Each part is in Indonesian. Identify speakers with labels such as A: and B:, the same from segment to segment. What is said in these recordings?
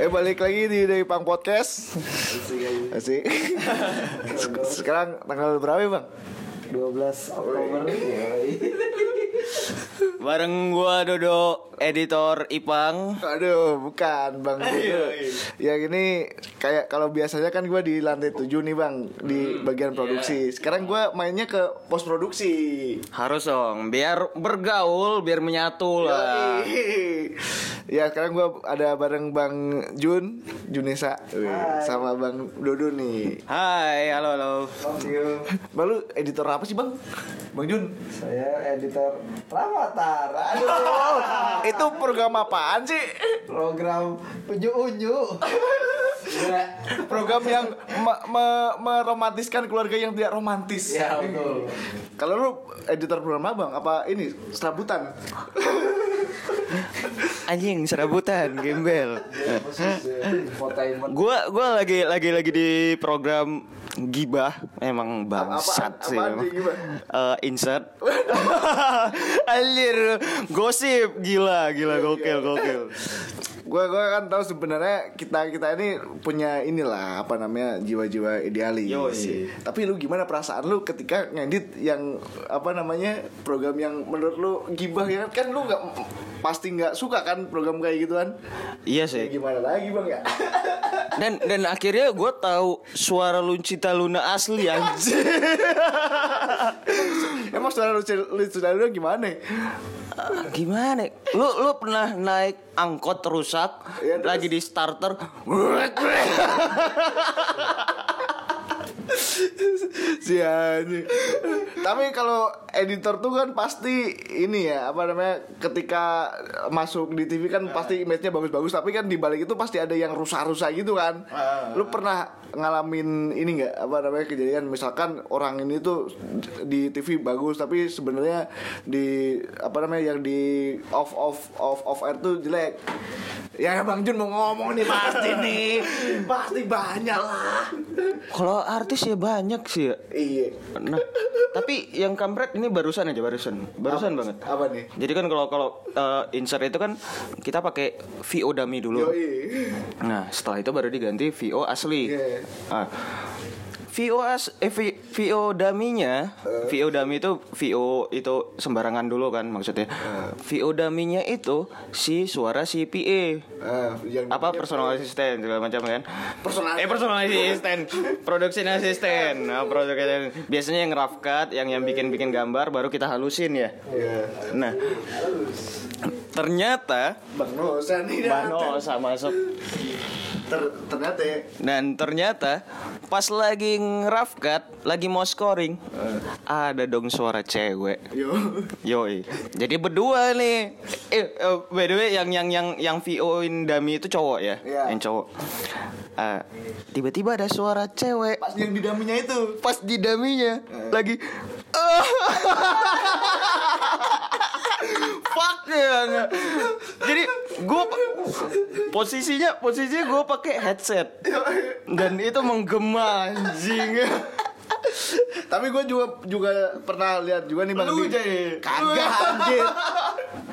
A: Eh balik lagi di dari Pang Podcast. Asik. Sek- Sekarang tanggal berapa ya, Bang?
B: 12 Oktober
C: Bareng gua Dodo, editor Ipang.
A: Aduh, bukan Bang. ya ini kayak kalau biasanya kan gue di lantai 7 nih Bang di bagian produksi. Sekarang gue mainnya ke post produksi.
C: Harus dong, biar bergaul, biar menyatu lah.
A: Yoi. ya sekarang gue ada bareng Bang Jun, Junesa, Wih, sama Bang Dodo nih.
C: Hai, halo halo.
A: Lalu editor apa sih Bang? Bang Jun?
B: Saya editor Ramatar Aduh
A: Itu program apaan sih?
B: Program Unyu Unyu
A: program yang me- me- meromantiskan keluarga yang tidak romantis.
B: Ya betul
A: Kalau lu editor program abang apa ini serabutan?
C: Anjing serabutan, gembel.
B: Khusus ya, infotainment
C: Gua gua lagi lagi lagi di program gibah emang
A: apaan-
C: bangsat sih
A: apaan
C: memang.
A: sih gibah?
C: Eh, insert alir gosip gila gila gokil gokil
A: Gue gue kan tahu sebenarnya kita kita ini punya inilah apa namanya jiwa-jiwa idealis.
C: Yoi.
A: Tapi lu gimana perasaan lu ketika ngedit yang apa namanya program yang menurut lu gibah ya kan lu nggak pasti nggak suka kan program kayak gituan?
C: iya
A: Ya
C: sih
A: gimana lagi bang ya?
C: dan dan akhirnya gue tahu suara Luncita Luna asli anjing
A: Emang saudara lu saudara lu gimana?
C: gimana lu lu pernah naik angkot rusak
A: Iya, terus?
C: lagi di starter
A: si anjing. Tapi kalau editor tuh kan pasti ini ya apa namanya ketika masuk di TV kan pasti image-nya bagus-bagus tapi kan di balik itu pasti ada yang rusak-rusak gitu kan. Lu pernah ngalamin ini nggak apa namanya kejadian misalkan orang ini tuh di TV bagus tapi sebenarnya di apa namanya yang di off off off off air tuh jelek. Ya Bang Jun mau ngomong nih pasti nih. pasti banyak lah.
C: kalau artis ya banyak sih ya
A: Iya.
C: nah tapi yang kampret ini barusan aja barusan barusan banget
A: Apa nih?
C: jadi kan kalau kalau eh, insert itu kan kita pakai VO dummy dulu
A: Yoi.
C: Nah, setelah itu baru diganti VO asli.
A: Iya.
C: Ah. VO as eh, V- VO daminya,
A: Eh.
C: VO dami itu VO itu sembarangan dulu kan maksudnya.
A: Eh.
C: VO daminya itu si suara si PA.
A: Eh, yang
C: Apa personal assistant segala macam kan?
A: Personal-
C: eh personal assistant, production assistant. Nah, production biasanya yang rough cut, yang yang bikin-bikin gambar baru kita halusin ya.
A: Iya.
C: Nah, ternyata
A: Bang Nosa nih Oh, dah.
C: Mano sama Sep
A: Ter- ternyata ya
C: Dan ternyata pas lagi ngeraf cut, lagi mau scoring, ada dong suara cewek.
A: yo
C: Yoi. Jadi berdua nih. Eh, eh, by the way yang yang yang yang VO in dummy itu cowok ya,
A: Iya.
C: yang cowok. Ah, tiba-tiba ada suara cewek
A: pas yang di daminya itu Eh.
C: pas di daminya lagi "Ah." fuck ya nggak. jadi gue posisinya posisinya gue pakai headset dan itu menggema anjing
A: tapi gue juga juga pernah lihat juga nih bang
C: Lu,
A: di-
C: Jay.
A: kagak anjir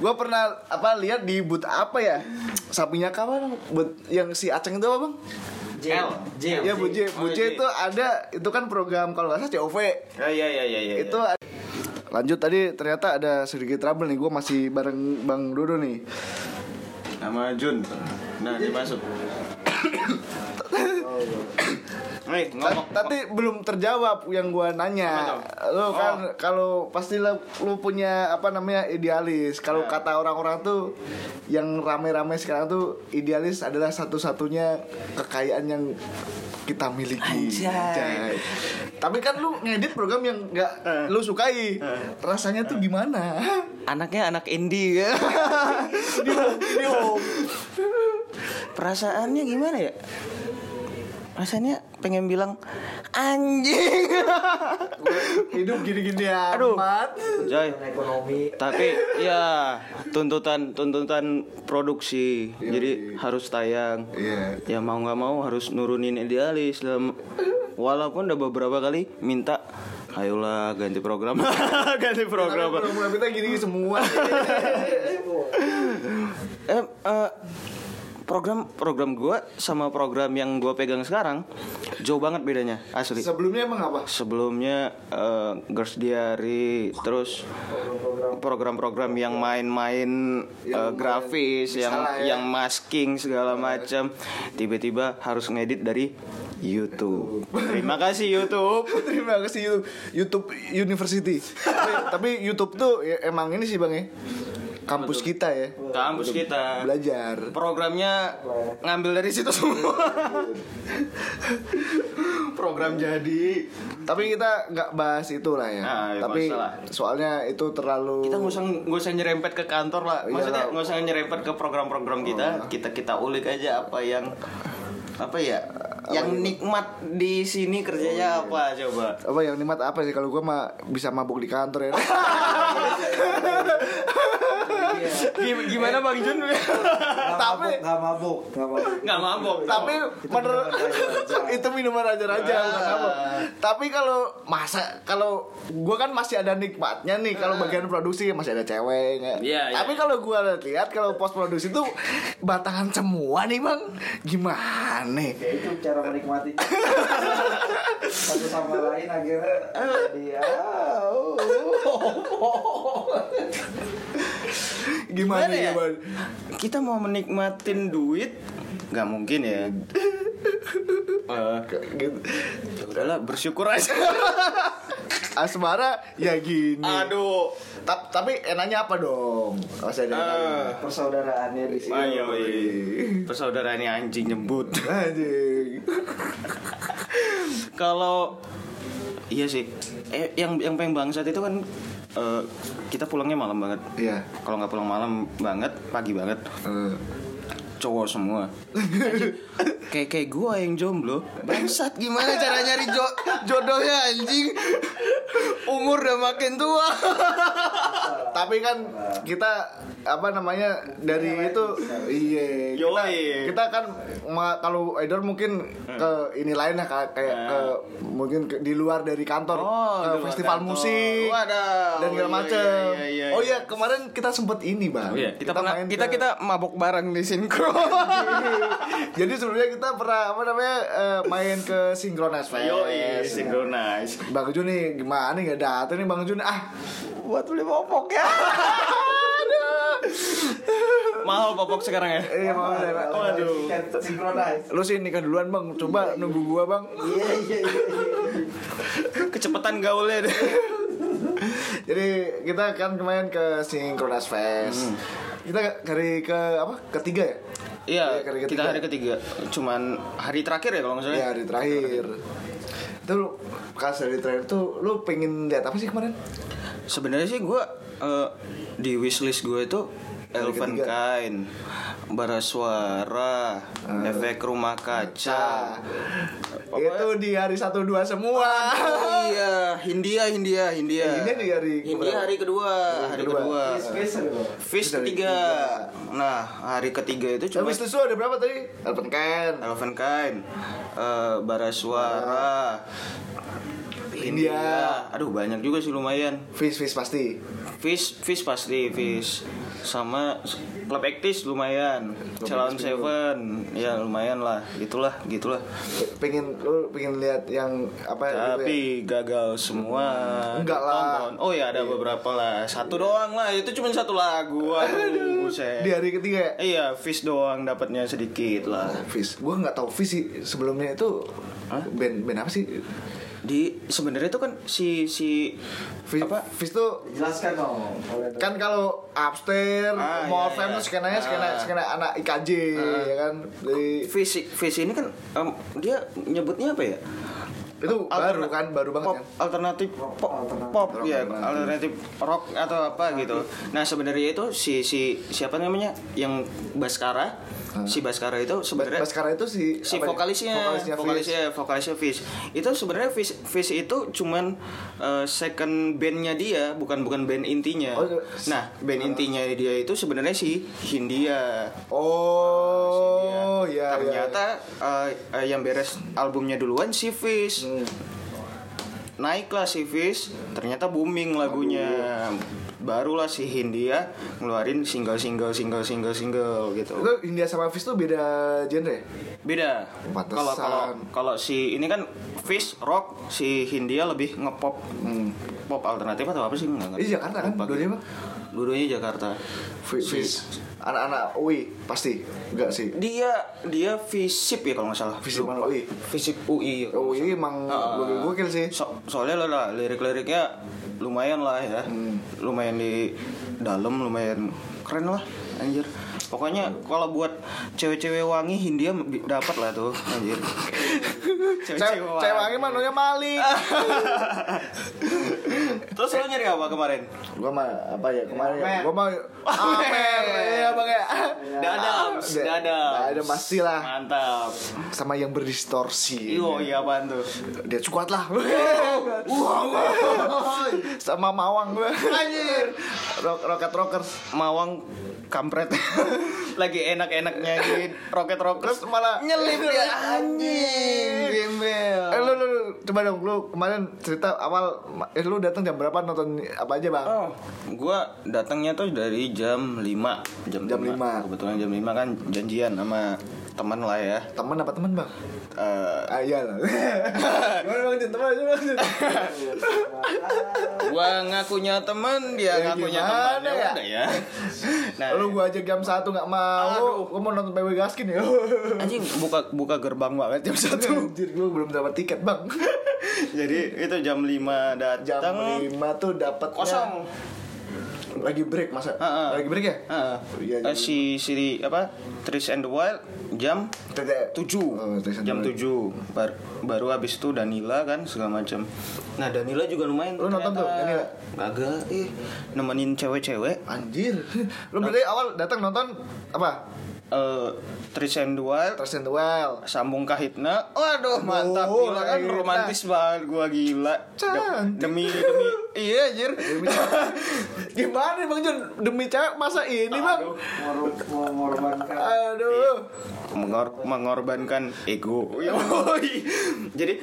A: gue pernah apa lihat di but apa ya sapinya kawan but yang si aceng itu apa bang
C: L J
A: ya buje buje itu ada itu kan program kalau nggak salah cov
C: ya ya ya ya ya
A: itu ada- lanjut tadi ternyata ada sedikit trouble nih gue masih bareng bang dodo nih
C: nama Jun nah dimasuk Nih, ngomong.
A: Tapi belum terjawab yang gua nanya. Lu kan kalau pasti lu, lu punya apa namanya idealis. Kalau kata orang-orang tuh yang rame-rame sekarang tuh idealis adalah satu-satunya kekayaan yang kita miliki. Anjay. Tapi kan lu ngedit program yang nggak lu sukai. Rasanya tuh gimana?
C: Anaknya anak indie ya. Perasaannya gimana ya? Rasanya pengen bilang anjing.
A: Hidup gini-gini
C: Aduh.
A: amat.
C: Jay,
B: Ekonomi
C: tapi ya tuntutan tuntutan produksi. Jadi harus tayang.
A: Iya.
C: Ya mau nggak mau harus nurunin idealis dalam walaupun udah beberapa kali minta ayolah ganti program. ganti program.
A: Program kita gini semua.
C: Eh, eh, program program gua sama program yang gua pegang sekarang jauh banget bedanya asli.
A: Sebelumnya emang apa?
C: Sebelumnya eh, Girls Diary terus program-program yang main-main eh, grafis yang
A: misalnya ya. Iya.
C: yang masking segala macam tiba-tiba harus ngedit dari YouTube. Terima kasih YouTube.
A: Terima kasih YouTube, YouTube University. tapi, tapi YouTube tuh ya, emang ini sih bang ya, kampus kita ya.
C: Kampus kita.
A: Belajar.
C: programnya ngambil dari situ semua program jadi
A: Tapi kita nggak bahas itu lah ya.
C: Nah, ya,
A: tapi
C: nggak usah lah.
A: soalnya itu terlalu.
C: kita nggak usah nggak usah nyerempet ke kantor lah maksudnya
A: Iyalah.
C: nggak usah nyerempet ke program-program kita kita kita ulik aja apa yang apa ya Oh, iya. yang nikmat di sini kerjanya apa coba
A: apa yang nikmat apa sih kalau gua mah bisa mabuk di kantor ya.
C: Gim- gimana bang Jun
A: Tapi-
B: Tapi nggak mabuk, nggak mabuk.
C: nggak mabok
A: tapi menurut itu minuman raja-raja bukan apa. Tapi kalau masa kalau gua kan masih ada nikmatnya nih kalau bagian produksi masih ada cewek nggak?
C: Iya, iya.
A: Tapi kalau gua lihat kalau post produksi tuh batangan semua nih, Bang. Gimana? nih?
B: Ya itu cara menikmati satu sama lain akhirnya jadi ah, oh,
A: Gimana,
C: Gimana
A: ya,
C: ya?
A: Bang?
C: kita mau menikmatin duit nggak mungkin ya Eh,
A: Gitu.
C: ya udahlah bersyukur aja
A: Asmara ya
C: Iya.
A: gini.
C: aduh
A: Ta- tapi enaknya apa dong? Masih ada.
C: Eh.
B: persaudaraannya di sini.
C: Ayo, persaudaraannya anjing nyembut.
A: Anjing.
C: Kalau iya sih, eh, yang yang pengen bangsat itu kan eh, kita pulangnya malam banget.
A: Iya.
C: Kalau nggak pulang malam banget, pagi banget,
A: Eh.
C: cowok semua. Anjing, kayak kayak gua yang jomblo, bangsat gimana cara nyari jo- jodohnya anjing? Umur udah makin tua.
A: Tapi kan kita apa namanya dari itu iya kita,
C: Yoi.
A: kita kan ma- kalau Edor mungkin
C: Hmm.
A: ke ini lain lah kayak kayak ke mungkin ke- di luar dari kantor
C: Oh,
A: ke
C: di luar
A: festival
C: kantor.
A: musik
C: Wadaw,
A: dan segala
C: iya,
A: macem
C: iya, iya,
A: oh iya
C: iya.
A: kemarin kita sempet ini bang
C: Oh iya, kita pernah-
A: main
C: kita
A: ke-
C: kita mabok bareng di sinkro.
A: jadi sebelumnya kita pernah apa namanya eh, main ke Synchronize Fest
C: iya, synchronize.
A: Bang Jun nih gimana nih nggak datang nih Bang Jun ah
B: Buat beli popok ya.
C: Mahal popok sekarang ya.
A: eh mau deh, Pak.
B: Waduh. Sinkronize.
A: lu sih nikah duluan bang coba nunggu gua bang
B: Iya iya iya.
C: Kecepatan gaulnya deh.
A: jadi kita kan kemarin ke Synchronize Fest
C: Hmm.
A: kita dari ke apa ketiga ya
C: Iya,
A: Iya, hari
C: kita
A: ketiga.
C: hari ketiga. Cuman hari terakhir ya kalau nggak salah.
A: ya hari terakhir itu lu pas dari terakhir tuh lu pengen lihat apa sih kemarin
C: Sebenarnya sih gue di wishlist gue itu Elven
A: ketiga.
C: Kain, Barasuara,
A: Eh.
C: Efek Rumah Kaca.
A: itu
C: ya?
A: di hari satu dua semua
C: Oh iya, Hindia, Hindia, Hindia.
A: Ah. Hindia di hari
C: Hindia
A: keberapa?
C: hari kedua, hari
A: kedua.
C: kedua.
B: Spacer kok.
C: Fish ketiga. Nah, hari ketiga itu
A: tapi
C: cuma
A: itu ada berapa tadi Elven Ken
C: Elven Kain, eh, Barasuara,
A: Hindia.
C: Aduh, banyak juga sih lumayan.
A: Fish Fish pasti
C: Fish, fish pasti, fish. Sama klub aktis lumayan. Calon Seven, ya lumayan lah. Itulah, gitulah.
A: pengen lu pengen lihat yang apa gitu ya?
C: Tapi gagal semua.
A: Enggak lah.
C: Ditonton. Oh ya ada beberapa lah. Satu doang lah. Itu cuma satu lagu. Aduh, buset.
A: di hari ketiga ya?
C: Iya, fish doang dapatnya sedikit lah.
A: Fish gua nggak tahu Fish sih sebelumnya itu band band apa sih
C: Di sebenarnya itu kan si si
A: Fish,
C: apa?
A: Fish tuh
B: Jelaskan dong. Oleh-
A: kan kalau upstairs
C: Ah,
A: mall
C: iya,
A: fam
C: iya.
A: tuh skenanya skena
C: Ah.
A: skena anak IKJ ya kan jadi
C: Fish, fish ini kan em, dia nyebutnya apa ya?
A: itu baru
C: Alterna-
A: kan baru banget
C: pop,
A: kan
C: alternatif pop
B: alternatif.
C: pop
A: Rock
C: ya
A: alternatif.
C: alternatif rock atau apa gitu nah sebenarnya itu si si siapa namanya yang Baskara si Baskara itu sebenarnya
A: Baskara itu si
C: si
A: apa ya?
C: vokalisnya
A: vokalisnya,
C: vokalisnya vokalisnya Fish itu sebenarnya Fish Fish itu cuman eh, second bandnya dia bukan bukan band intinya
A: Oh, s-
C: nah band intinya dia itu sebenarnya si Hindia
A: Fish. oh iya iya,
C: Ah, ternyata
A: iya. Hmm.
C: eh, eh, yang beres albumnya duluan si Fish naiklah si Fish ternyata booming lagunya barulah si Hindia ngeluarin single single single single single gitu
A: Itu India sama Fish tuh beda genre ya?
C: beda
A: Pantesan.
C: kalau kalau kalau si ini kan fish rock si Hindia lebih ngepop pop alternatif atau apa sih nggak
A: Ini
C: ngerti
A: Hmm. Jakarta kan?
C: Lupa. gitu.
A: Dua-duanya apa?
C: Dua-duanya Jakarta
A: Fish, Fish. Anak-anak UI pasti Enggak sih
C: dia dia visip ya kalau nggak salah
A: Fish mana UI
C: visip UI
A: UI emang
C: Ah.
A: gokil gokil sih
C: So- soalnya lah, lah lirik-liriknya lumayan lah ya
A: Hmm.
C: lumayan di dalam lumayan keren lah anjir pokoknya kalau buat cewek-cewek wangi Hindia bi- dapat lah tuh anjir
A: Cewek wangi mah namanya Mali
C: terus lo nyari apa kemarin
A: Gua mah apa ya kemarin ya?
B: Amer.
A: Gua mah Amer Iya bang ya
C: dadam dadam
A: Dadam pasti Iya lah.
C: mantap
A: Sama yang berdistorsi
C: Iyo, iya apaan tuh?
A: Dia squad lah Iya. Sama Mawang Anjir Rock, Rocket Rockers
C: Mawang kampret lagi enak-enaknya di roket roket
A: Terus malah Iya,
C: nyelip ya anjing gembel
A: Eh lu, lu, lu, coba dong lu kemarin cerita awal eh, lu datang jam berapa nonton apa aja bang?
C: Oh, gua datangnya tuh dari jam 5 jam,
A: Jam lima.
C: Kebetulan jam 5 kan janjian sama teman lah ya.
A: Temen apa temen bang?
C: Eh,
A: Ah iya lah. Gimana bang Jun? Temen aja bang Jun.
C: gua ngakunya teman, dia
A: Ya,
C: ngakunya
A: gimana
C: teman. Ya
A: ya?
C: udah ya. Nah,
A: Lu gua ajak jam 1 gak mau. Gua mau nonton PW Gaskin ya.
C: Nah, anjing buka buka gerbang banget jam 1.
A: Anjir gua belum dapat tiket bang.
C: Jadi itu jam 5
A: Jam
C: datang
A: 5 tuh dapatnya
C: kosong.
A: Lagi break masa?
C: Heeh.
A: Lagi break ya?
C: Heeh.
A: Iya,
C: Eh, si si apa? Tris and the Wild jam
A: Tete-
C: tujuh
A: Oh, Tristan
C: jam
A: Wild.
C: tujuh Bar- baru habis itu Danila kan segala macam nah Danila juga lumayan
A: Lu nonton tuh, Danila?
C: agak ih nemenin cewek-cewek
A: Anjir. Lu berarti awal datang nonton apa?
C: Eh, Tris and the Wild
A: Trust in the Wild.
C: sambung kahitna waduh mantap
A: Oh,
C: gila kan
A: Kahitna.
C: romantis banget gua gila
A: Cantik.
C: demi demi iya anjir
A: Gimana nih, Bang Jun? Demi cewek masa ini, Bang?
B: Mengor- mengorbankan
A: Aduh.
C: Mengor- mengorbankan ego. Yoi. Jadi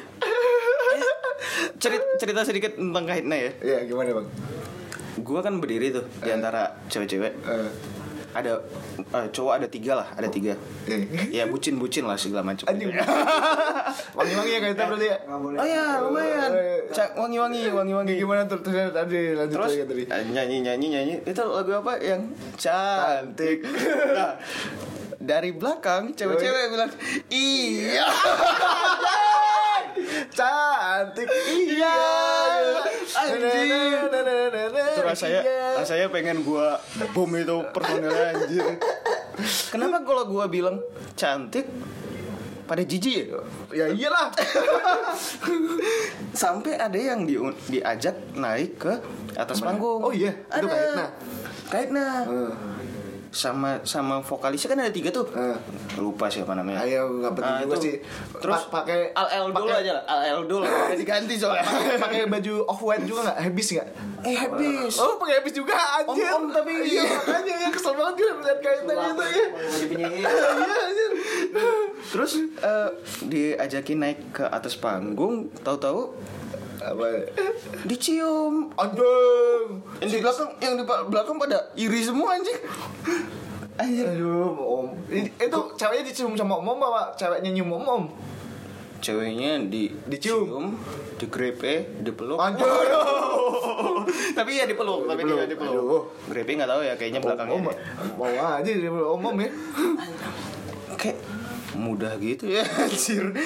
C: cerita, cerita sedikit tentang Kahitna ya.
A: Iya, gimana, Bang?
C: Gua kan berdiri tuh di antara cewek-cewek.
A: Eh,
C: Ada eh, cowok ada tiga lah, ada tiga.
A: eh.
C: Ya bucin-bucin lah segala macam. Ya.
A: Anjing. Wangi-wangi ya kita berarti ya.
B: nggak boleh
C: Oh ya lumayan. Cak wangi-wangi, wangi-wangi.
A: Gimana tuh terus tadi lanjut
C: Terus
A: lagi tadi.
C: Eh, nyanyi nyanyi nyanyi itu lagu apa yang cantik. Nah, dari belakang cewek-cewek bilang iya.
A: Cantik iya.
C: Anjing.
A: Itu iya.
C: itu rasanya rasanya ya pengen gua bom itu personelnya anjir kenapa kalau gua bilang cantik pada jijik ya
A: Ya iyalah.
C: sampai ada yang di, diajak naik ke atas panggung
A: Oh iya, itu
C: ada.
A: Kahitna.
C: Kahitna.
A: Eh,
C: sama sama vokalisnya kan ada tiga tuh
A: Eh.
C: lupa siapa namanya
A: Ayo nggak penting
C: Ah,
A: juga
C: itu.
A: sih.
C: terus
A: Pa- pakai
C: al dulu
A: pakai- Iya,
C: aja lah al dulu udah diganti soalnya
A: pakai baju off white juga nggak habis nggak
C: eh habis
A: oh pakai habis juga anjir
C: Om-om tapi-
A: iya makanya ya kesel banget gue melihat kaitan gitu ya
B: Jadi penyanyi
A: iya anjir
C: terus eh, diajakin naik ke atas panggung tahu-tahu
A: apa Eh,
C: dicium
A: anjing
C: Yang di belakang, yang di belakang pada iri semua anjing. Anjir.
A: aduh om I- itu ceweknya dicium sama om om apa ceweknya nyium om om
C: Ceweknya di
A: Dicium.
C: dicium, digrepe, dipeluk.
A: Anjir.
C: tapi ya dipeluk, tapi dia
A: Dipeluk. Aduh.
C: dipeluk. Grepe nggak tahu ya kayaknya
A: om
C: belakangnya.
A: om
C: deh.
A: mau aja dia bilang om om ya
C: Kayak mudah gitu ya anjir.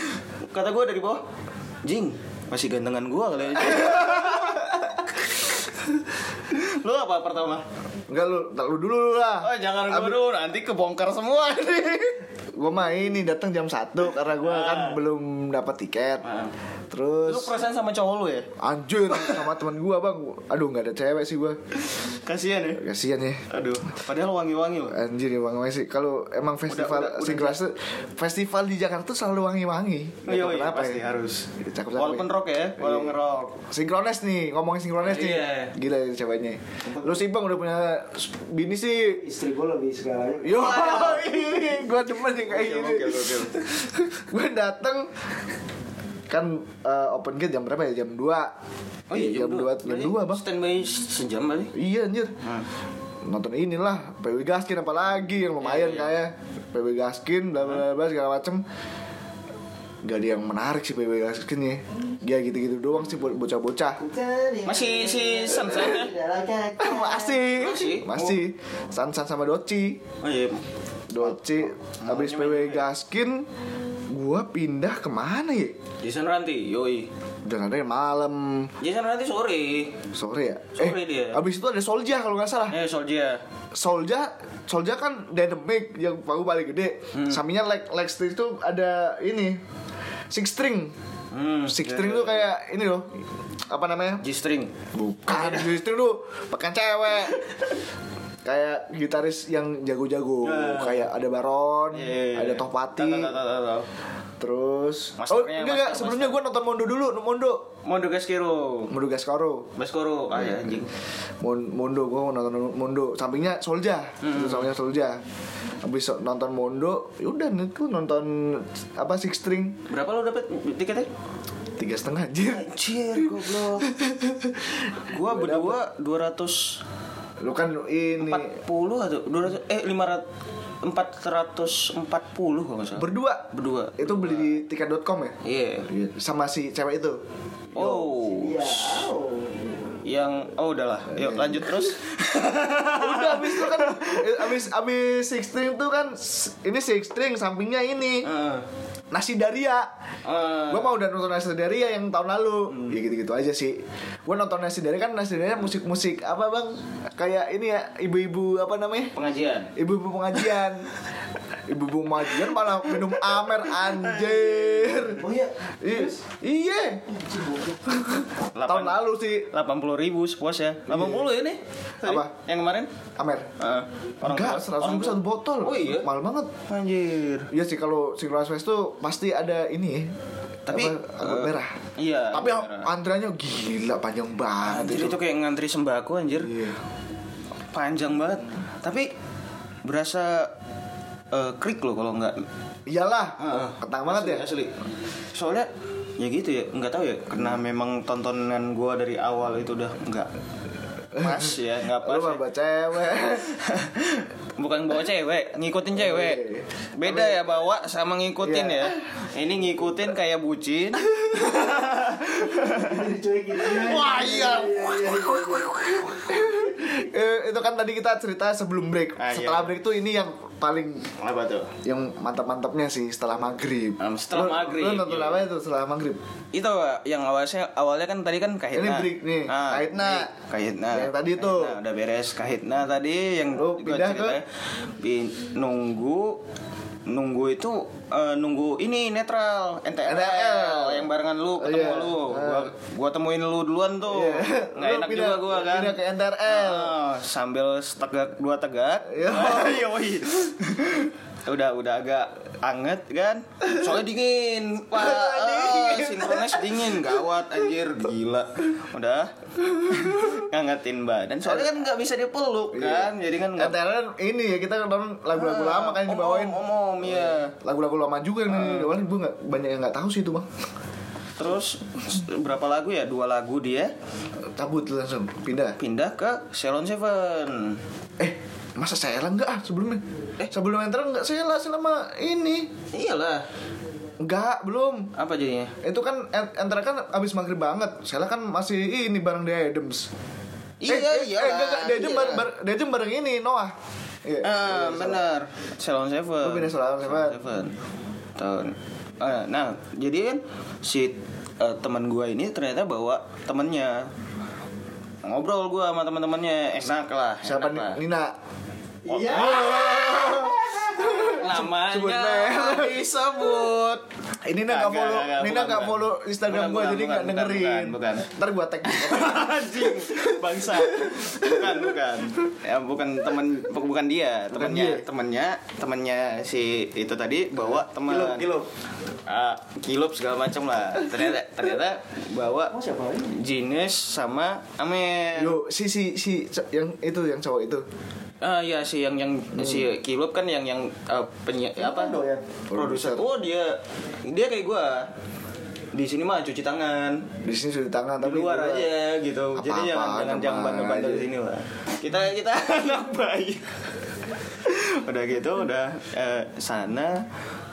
C: Kata gue dari bawah, "Jing, masih gantengan gua kali ya." aja." Lu apa pertama?
A: Enggak lu, tak lu dulu lah.
C: Oh jangan
A: Abis-
C: gue dulu, nanti kebongkar semua nih.
A: Gua mah ini datang jam 1 karena gua kan belum dapat tiket.
C: Ah. Lu
A: Terus
C: perasaan sama cowok lu ya?
A: anjir sama teman gua, Bang. Aduh, nggak ada cewek sih gua.
C: Kasian ya.
A: Kasihan ya.
C: Aduh, padahal wangi-wangi loh.
A: Anjir ya wangi sih. Kalau emang festival
C: udah, udah.
A: singkelas tuh festival di Jakarta tuh selalu wangi-wangi. Nggak
C: Iya,
A: tahu ya.
C: iya, pasti harus.
A: Cakep cakep.
C: Walapen rock ya, walaupun rock.
A: Sinkrones nih, ngomongin sinkrones nih.
C: Iya.
A: Gila ya ceweknya. Lu sih Bang udah punya bini sih.
B: istri gue lebih segalanya
A: Yo,
C: Iya,
A: gua demen yang kayak gini.
C: oke.
A: gue dateng kan eh, open gate jam berapa ya jam 2
C: Oh iya,
A: iya, jam 2 jam 2 bang
C: Standby sejam kali.
A: Iya anjir. Nonton inilah PW Gaskin apalagi yang lumayan kan kayak PW Gaskin bla bla bla segala macem Gak ada yang menarik sih PW Gaskin ya. Ya gitu-gitu doang sih buat bocah-bocah.
C: Masih si Sunshine ya?
A: Masih.
C: Masih?
A: Masih. Sansan sama Doci.
C: Oh iya.
A: Doci habis PW Gaskin gua pindah kemana ya?
C: Jason Ranti, yoi.
A: Udah ada yang malam
C: Jason Ranti sore.
A: sore ya.
C: Sore
A: eh,
C: dia.
A: Abis itu ada Solja kalau nggak salah.
C: Eh Solja.
A: Solja Solja kan dynamic yang pagu paling gede.
C: Hmm.
A: Saminya leg leg string itu ada ini six string.
C: Hmm.
A: Six string tuh kayak ini loh apa namanya?
C: G string.
A: Bukan six string tuh pakai cewek. kayak gitaris yang
C: Iya,
A: jago-jago kayak ada Baron,
C: Eh,
A: ada Topati, terus oh
C: Masternya,
A: enggak enggak
C: master,
A: sebelumnya gue nonton Mondo dulu Mondo
C: Mondo Gaskero.
A: Mondo Gaskoro
C: Baskoro. Ah ya anjing.
A: Mon- Mondo gue nonton Mondo sampingnya Solja itu sampingnya Solja habis so- nonton Mondo ya yaudah itu nonton apa six string
C: Berapa lo dapet tiketnya?
A: tiga setengah anjir
C: Anjir, goblok. gua berdua 200
A: lu kan ini
C: 40 atau 200 eh 500 440 kalau nggak salah.
A: berdua
C: berdua.
A: itu beli di tiket.com ya
C: Iya.
A: Iya, sama si cewek itu
C: Oh.
B: Ya,
A: iya.
C: Yang oh udahlah. Yuk lanjut terus.
A: udah abis itu kan eh, abis abis six string tuh kan s- ini six string sampingnya ini
C: Heeh.
A: nasi daria
C: Eh.
A: gue mau udah nonton nasi daria yang tahun lalu
C: Hmm.
A: ya gitu gitu aja sih gue nonton nasi daria kan nasi daria musik musik apa bang kayak ini ya ibu-ibu apa namanya
C: pengajian.
A: ibu-ibu pengajian ibu-ibu pengajian malah minum amer anjir
B: Oh iya.
A: I- iya tahun lalu Iya. sih
C: delapan puluh ribu sepuasnya delapan puluh ini tadi.
A: Apa?
C: yang kemarin
A: amer
C: Eh, orang
A: enggak
C: tua-
A: seratus
C: orang
A: ribu
C: tua.
A: satu botol
C: oh iya
A: mahal banget
C: anjir
A: Iya sih kalau Synchronized Fest tuh pasti ada ini ya.
C: Tapi,
A: Apa, angkot
C: eh,
A: merah.
C: iya,
A: Tapi
C: angkot merah.
A: antreannya gila panjang banget
C: anjir
A: itu.
C: itu kayak ngantri sembako anjir
A: Iya.
C: panjang banget tapi berasa eh, krik loh kalau nggak
A: Iyalah,
C: Heeh.
A: ketang banget ya.
C: asli soalnya ya gitu ya nggak tahu ya karena memang tontonan gua dari awal itu udah nggak pas ya nggak pas
A: Lu
C: ya.
A: mah cewek.
C: Bukan bawa cewek, ngikutin cewek.
A: iya.
C: Beda ya bawa sama ngikutin
A: Iya.
C: ya. Ini ngikutin kayak bucin.
B: Ini dicuekin.
A: Wah iya. Eh, itu kan tadi kita cerita sebelum break.
C: Ah, iya.
A: setelah break tuh ini yang paling
C: Apa tuh?
A: yang mantap-mantapnya sih setelah maghrib.
C: Um, setelah
A: Lu-
C: maghrib,
A: Lu nonton
C: iya.
A: apa itu setelah maghrib?
C: Itu Pak, yang awalnya awalnya kan tadi kan kahitna. Ah,
A: Ini break nih, kahitna.
C: break, Kahitna.
A: Yang tadi
C: Kahitna,
A: tuh.
C: udah beres kahitna tadi yang
A: Lu
C: gua
A: pindah ke-
C: ceritain. Pin- nunggu nunggu itu eh, nunggu ini netral NTRL,
A: NTRL.
C: yang barengan
A: Oh,
C: lu ketemu
A: iya.
C: lu gua,
A: Ah.
C: gua temuin lu duluan tuh
A: Iya.
C: nggak
A: Lu
C: enak
A: pindah-
C: juga gua kan
A: pindah ke NTRL.
C: Ah, sambil tegak dua tegak
A: Iya.
C: Yoi. udah udah agak anget kan soalnya dingin pak
A: Iya,
C: Ah, sinkronis dingin gawat anjir gila udah ngangetin badan soalnya kan nggak bisa dipeluk kan jadi kan nggak Ah,
A: NTRL ini ya kita nonton lagu-lagu lama kan Iya. yang
C: Omong,
A: dibawain.
C: omong iya
A: lagu-lagu lama juga
C: Ah.
A: nih awalnya gue nggak banyak yang nggak tahu sih itu bang
C: terus berapa lagu ya dua lagu dia
A: cabut langsung pindah
C: pindah ke Salon Seven
A: eh masa saya lah nggak ah sebelumnya eh
C: Eh.
A: sebelum enter nggak saya lah selama ini
C: iyalah
A: nggak belum
C: apa jadinya
A: itu kan en- enter kan abis maghrib banget saya kan masih ini bareng The Adams
C: Iya,
A: eh, eh, enggak,
C: iya
A: enggak, The Adams
C: lah, iya.
A: bareng, bareng- The Adams bareng ini Noah Iya.
C: Ah, benar. Salon Seven.
A: Oh, pindah Salon Seven.
C: Tahun. Ah, nah, jadi kan si eh, teman gua ini ternyata bawa temennya ngobrol gua sama teman-temannya enak lah
A: siapa
C: enak
A: nih
C: lah.
A: Nina
B: Iya.
A: Sebut
C: namanya
A: merek.
C: disebut
A: ini Eh, Nina nggak
C: Kagak,
A: follow
C: kagak,
A: Nina
C: bukan,
A: nggak
C: bukan.
A: follow Instagram
C: Bukan,
A: gue
C: bukan,
A: jadi nggak
C: bukan, bukan,
A: dengerin
C: bukan, bukan.
A: ntar gue tag
C: anjing bangsa bukan bukan ya bukan teman bu- bukan dia temannya
A: dia.
C: temannya temannya si itu tadi bawa teman
B: Kilup, kilup.
C: Ah, kilup segala macam lah ternyata ternyata bawa
B: Oh, siapa ini?
C: jenis sama Amer
A: yo si si si yang itu yang cowok itu
C: ah ya si yang yang si kilup kan yang yang eh, penyi- apa
B: Doyan.
C: produser oh dia dia kayak gua di sini mah cuci tangan
A: di sini sudah tangan
C: di
A: tapi
C: luar
A: juga-
C: aja gitu jadi
A: Apa-apa,
C: jangan jangan jangan
A: tenang
C: bandel-bandel
A: aja.
C: di sini lah kita kita anak baik udah gitu udah eh, sana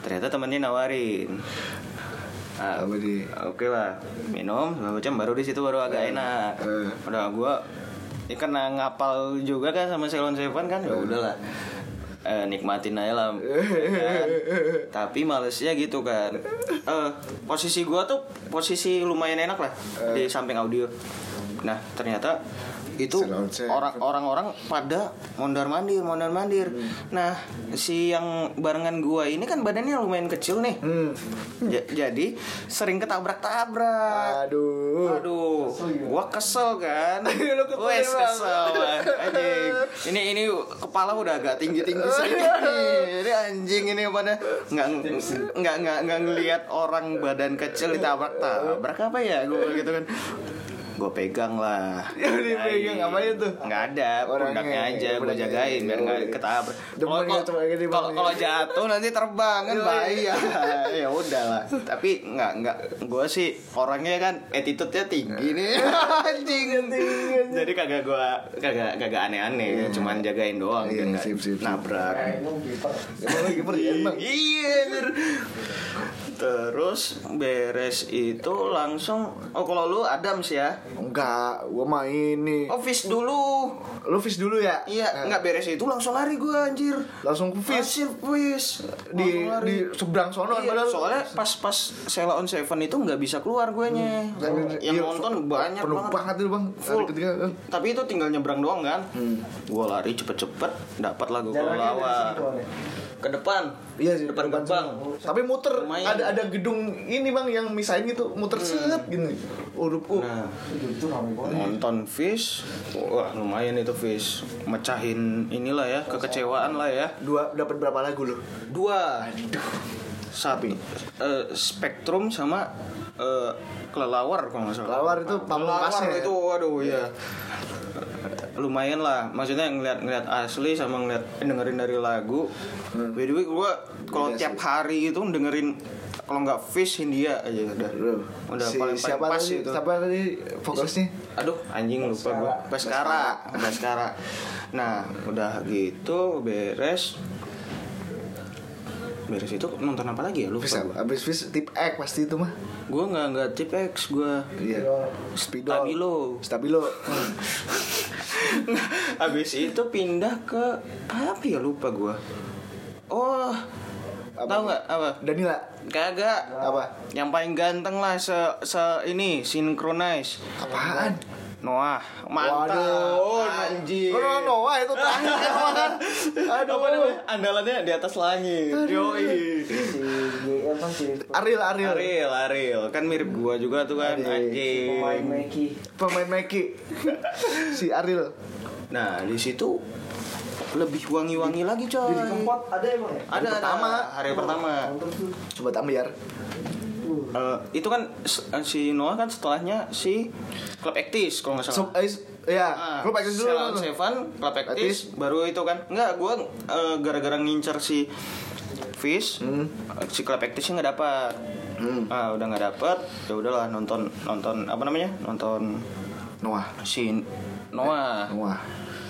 C: ternyata temennya nawarin Ah,
A: Apa di-
C: oke lah minum segala macam baru di situ baru agak enak
A: eh.
C: udah gua ya karena ngapal juga kan sama Selon Seven kan ya udahlah Eh, nikmatin aja lah kan. tapi malesnya gitu kan Eh, posisi gua tuh posisi lumayan enak lah
A: Eh.
C: di samping audio nah ternyata itu
A: Salon Seven.
C: orang orang-orang pada mondar mandir mondar mandir nah si yang barengan gua ini kan badannya lumayan kecil nih
A: Hmm.
C: Ja- jadi sering ketabrak tabrak
A: aduh
C: Aduh, gua kesel kan.
A: Lu kesel,
C: Wes
A: Bang.
C: kesel Bang. anjing. Ini ini kepala udah agak tinggi-tinggi sedikit nih. Ini anjing ini pada nggak nggak nggak nggak ngelihat orang badan kecil ditabrak-tabrak apa ya gua bilang gitu kan. Gue pegang lah.
A: Ya, dipegang, apanya tuh?
C: Nggak ada,
A: Orangnya,
C: pundaknya aja gue
A: pundaknya.
C: jagain biar nggak
A: Yoi.
C: ketabrak. Kalau
A: Demen gitu, kayak gini,
C: kalau-
A: Bang.
C: kalau jatuh nanti terbang kan
A: Yoi.
C: bahaya ya udahlah tapi nggak nggak gue sih orangnya kan attitude-nya tinggi nih anjing Iya. jadi kagak gue kagak kagak aneh-aneh cuman jagain doang
A: Iya,
C: biar nggak
A: sip, sip, sip.
C: nabrak
B: Kayak lu kiper.
A: emang lagi pergi emang
C: Iya anjir. Terus beres itu langsung Oh kalau lu Adams ya
A: enggak gua main nih
C: Office dulu
A: lu fish dulu ya
C: Oh. Iya nggak beres itu langsung lari gue anjir
A: langsung fish
C: Hasil puis
A: di
C: Langsung lari.
A: di seberang sono kan
C: Iya,
A: padahal
C: soalnya pas-pas Sela on Seven itu nggak bisa keluar gue nya yang
A: Iya,
C: nonton
A: so-
C: banyak
A: penuh
C: banget.
A: banget itu bang
C: Full.
A: Hari ketiga eh.
C: tapi itu tinggal nyebrang doang kan
A: Hmm.
C: gue lari cepet-cepet dapat lagu
B: Jaraknya dari
C: lawan
B: situ, Ale.
C: ke depan
A: Iya sih,
C: depan
A: depan
C: gerbang
A: tapi muter
C: Lumayan. Hmm.
A: ada ada gedung ini bang yang misain gitu muter set gini urup uh.
C: nah
B: Itu- Itu rame banget.
C: nonton Fish wah lumayan itu Fish mecahin inilah ya kekecewaan lah ya
A: dua dapat berapa lagu lo
C: dua sapi eh, spektrum sama eh, kelelawar kalau nggak salah
A: Kelelawar itu pamungkasnya
C: Kelelawar
A: ya?
C: itu waduh ya lumayan lah maksudnya ngeliat ngeliat asli sama ngeliat eh, dengerin dari lagu
A: Hmm.
C: by the way gue kalau
A: Beda
C: tiap hari itu dengerin kalau nggak fish India aja udah udah
A: si,
C: paling paling
A: siapa
C: pas
A: tadi
C: itu
A: siapa tadi fokusnya
C: aduh anjing lupa gue Baskara Baskara nah udah gitu beres beres itu nonton apa lagi ya lupa
A: bisa abis fish tip X pasti itu mah
C: gue nggak nggak tip X gue
A: iya Spidol
C: Stabilo.
A: Stabilo
C: abis itu pindah ke apa ya lupa gue oh
A: Apa?
C: tahu nggak apa
A: Danila
C: kagak
A: apa
C: yang paling ganteng lah se se ini synchronize
A: apaan
C: Noah mantap
A: Waduh.
C: anjing
A: Oh, no, no, wah, itu terakhir emang kan.
C: Aduh,
A: Aduh,
C: apa namanya? Andalannya di atas langit. Yoi.
B: Si GM kan si
A: Ariel, Ariel,
C: Ariel, Ariel. Kan mirip gua juga tuh kan, anjing.
B: pemain Meki.
A: pemain Meki, si Ariel.
C: Nah, di situ lebih wangi-wangi lagi, coy.
B: Jadi kempot ada emang ya?
C: Ada,
A: pertama.
C: ada. hari pertama.
B: Mantap tuh.
A: Coba tambiar.
B: Uh,
C: Eh, itu kan s- si Noah kan setelahnya si Club Actis kalau nggak salah.
A: So, eh, ya,
C: Ah,
A: lu pakai dulu.
C: Sheila on Seven, Club Actis,
A: Actis.
C: baru itu kan. Enggak, gua eh, gara-gara ngincer si Fish,
A: Hmm.
C: si Club Actisnya nggak dapat.
A: Hmm.
C: Ah, udah nggak dapat, ya udahlah nonton nonton apa namanya? Nonton
A: Noah,
C: si Noah.
A: Eh, Noah,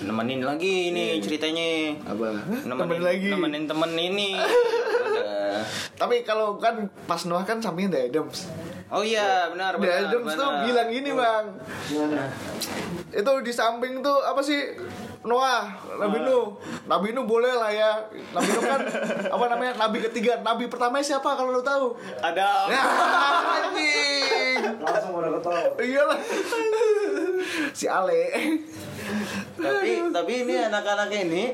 A: Iya,
C: Nemenin lagi ini ceritanya.
A: apa?
C: Nemenin,
A: Temen lagi.
C: Nemenin temen ini. Udah.
A: Tapi kalau kan pas Noah kan sampingnya The Adams.
C: Oh iya,
A: The
C: benar benar.
A: Adams tuh
C: benar.
A: bilang gini bang,
B: gimana?
A: itu di samping tuh apa sih Noah, Nabi
C: Ah.
A: Nuh, Nabi Nuh boleh lah ya. Nabi Nuh kan apa namanya? Nabi ketiga, Nabi pertama siapa kalau lu tahu?
C: Adam.
A: Ya, anjing.
B: Langsung udah ketawa.
A: Iyalah. Si Ale.
C: tapi tapi ini anak-anak ini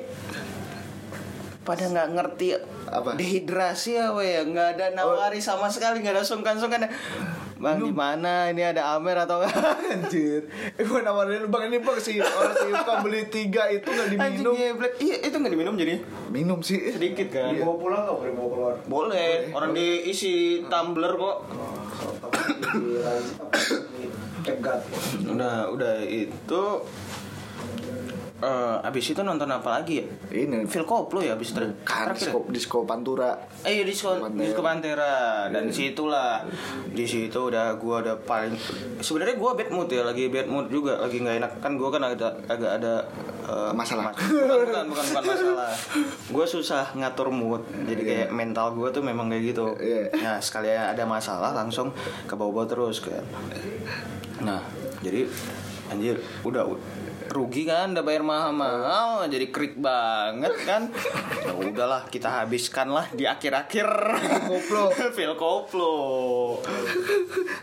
C: pada nggak ngerti
A: Apa?
C: dehidrasi apa ya nggak ada nawari sama sekali nggak ada sungkan-sungkan bang di mana ini ada Amer atau
A: Anjir. Eh, Gua nawarin lu, bang ini bang si orang si Ilka beli tiga itu nggak
C: anjing
A: diminum.
C: geblek iya itu nggak diminum jadi
A: Minum sih.
C: sedikit kan
B: Bawa pulang nggak Iya. boleh bawa keluar.
C: boleh orang diisi tumbler kok
B: Oh, tapi di apa, di pegat.
C: udah udah itu eh, abis itu nonton apa lagi ya?
A: Ini.
C: Phil Koplo ya abis itu.
A: kan
C: Terakhir.
A: disko, disko pantura
C: Eh di sekolah
A: Pantera.
C: di sekolah Pantera dan situlah di situ udah gua udah paling sebenarnya gua bad mood ya lagi bad mood juga lagi nggak enak kan gua kan agak agak ada eh,
A: Masalah.
C: mas- bukan, bukan bukan bukan masalah gua susah ngatur mood jadi kayak mental gua tuh memang kayak gitu
A: Iya.
C: nah sekali ada masalah langsung ke bawah terus kayak nah jadi anjir udah u- rugi kan udah bayar mahal-mahal jadi krik banget kan ya udahlah kita habiskan lah di akhir-akhir
A: Koplo.
C: feel koplo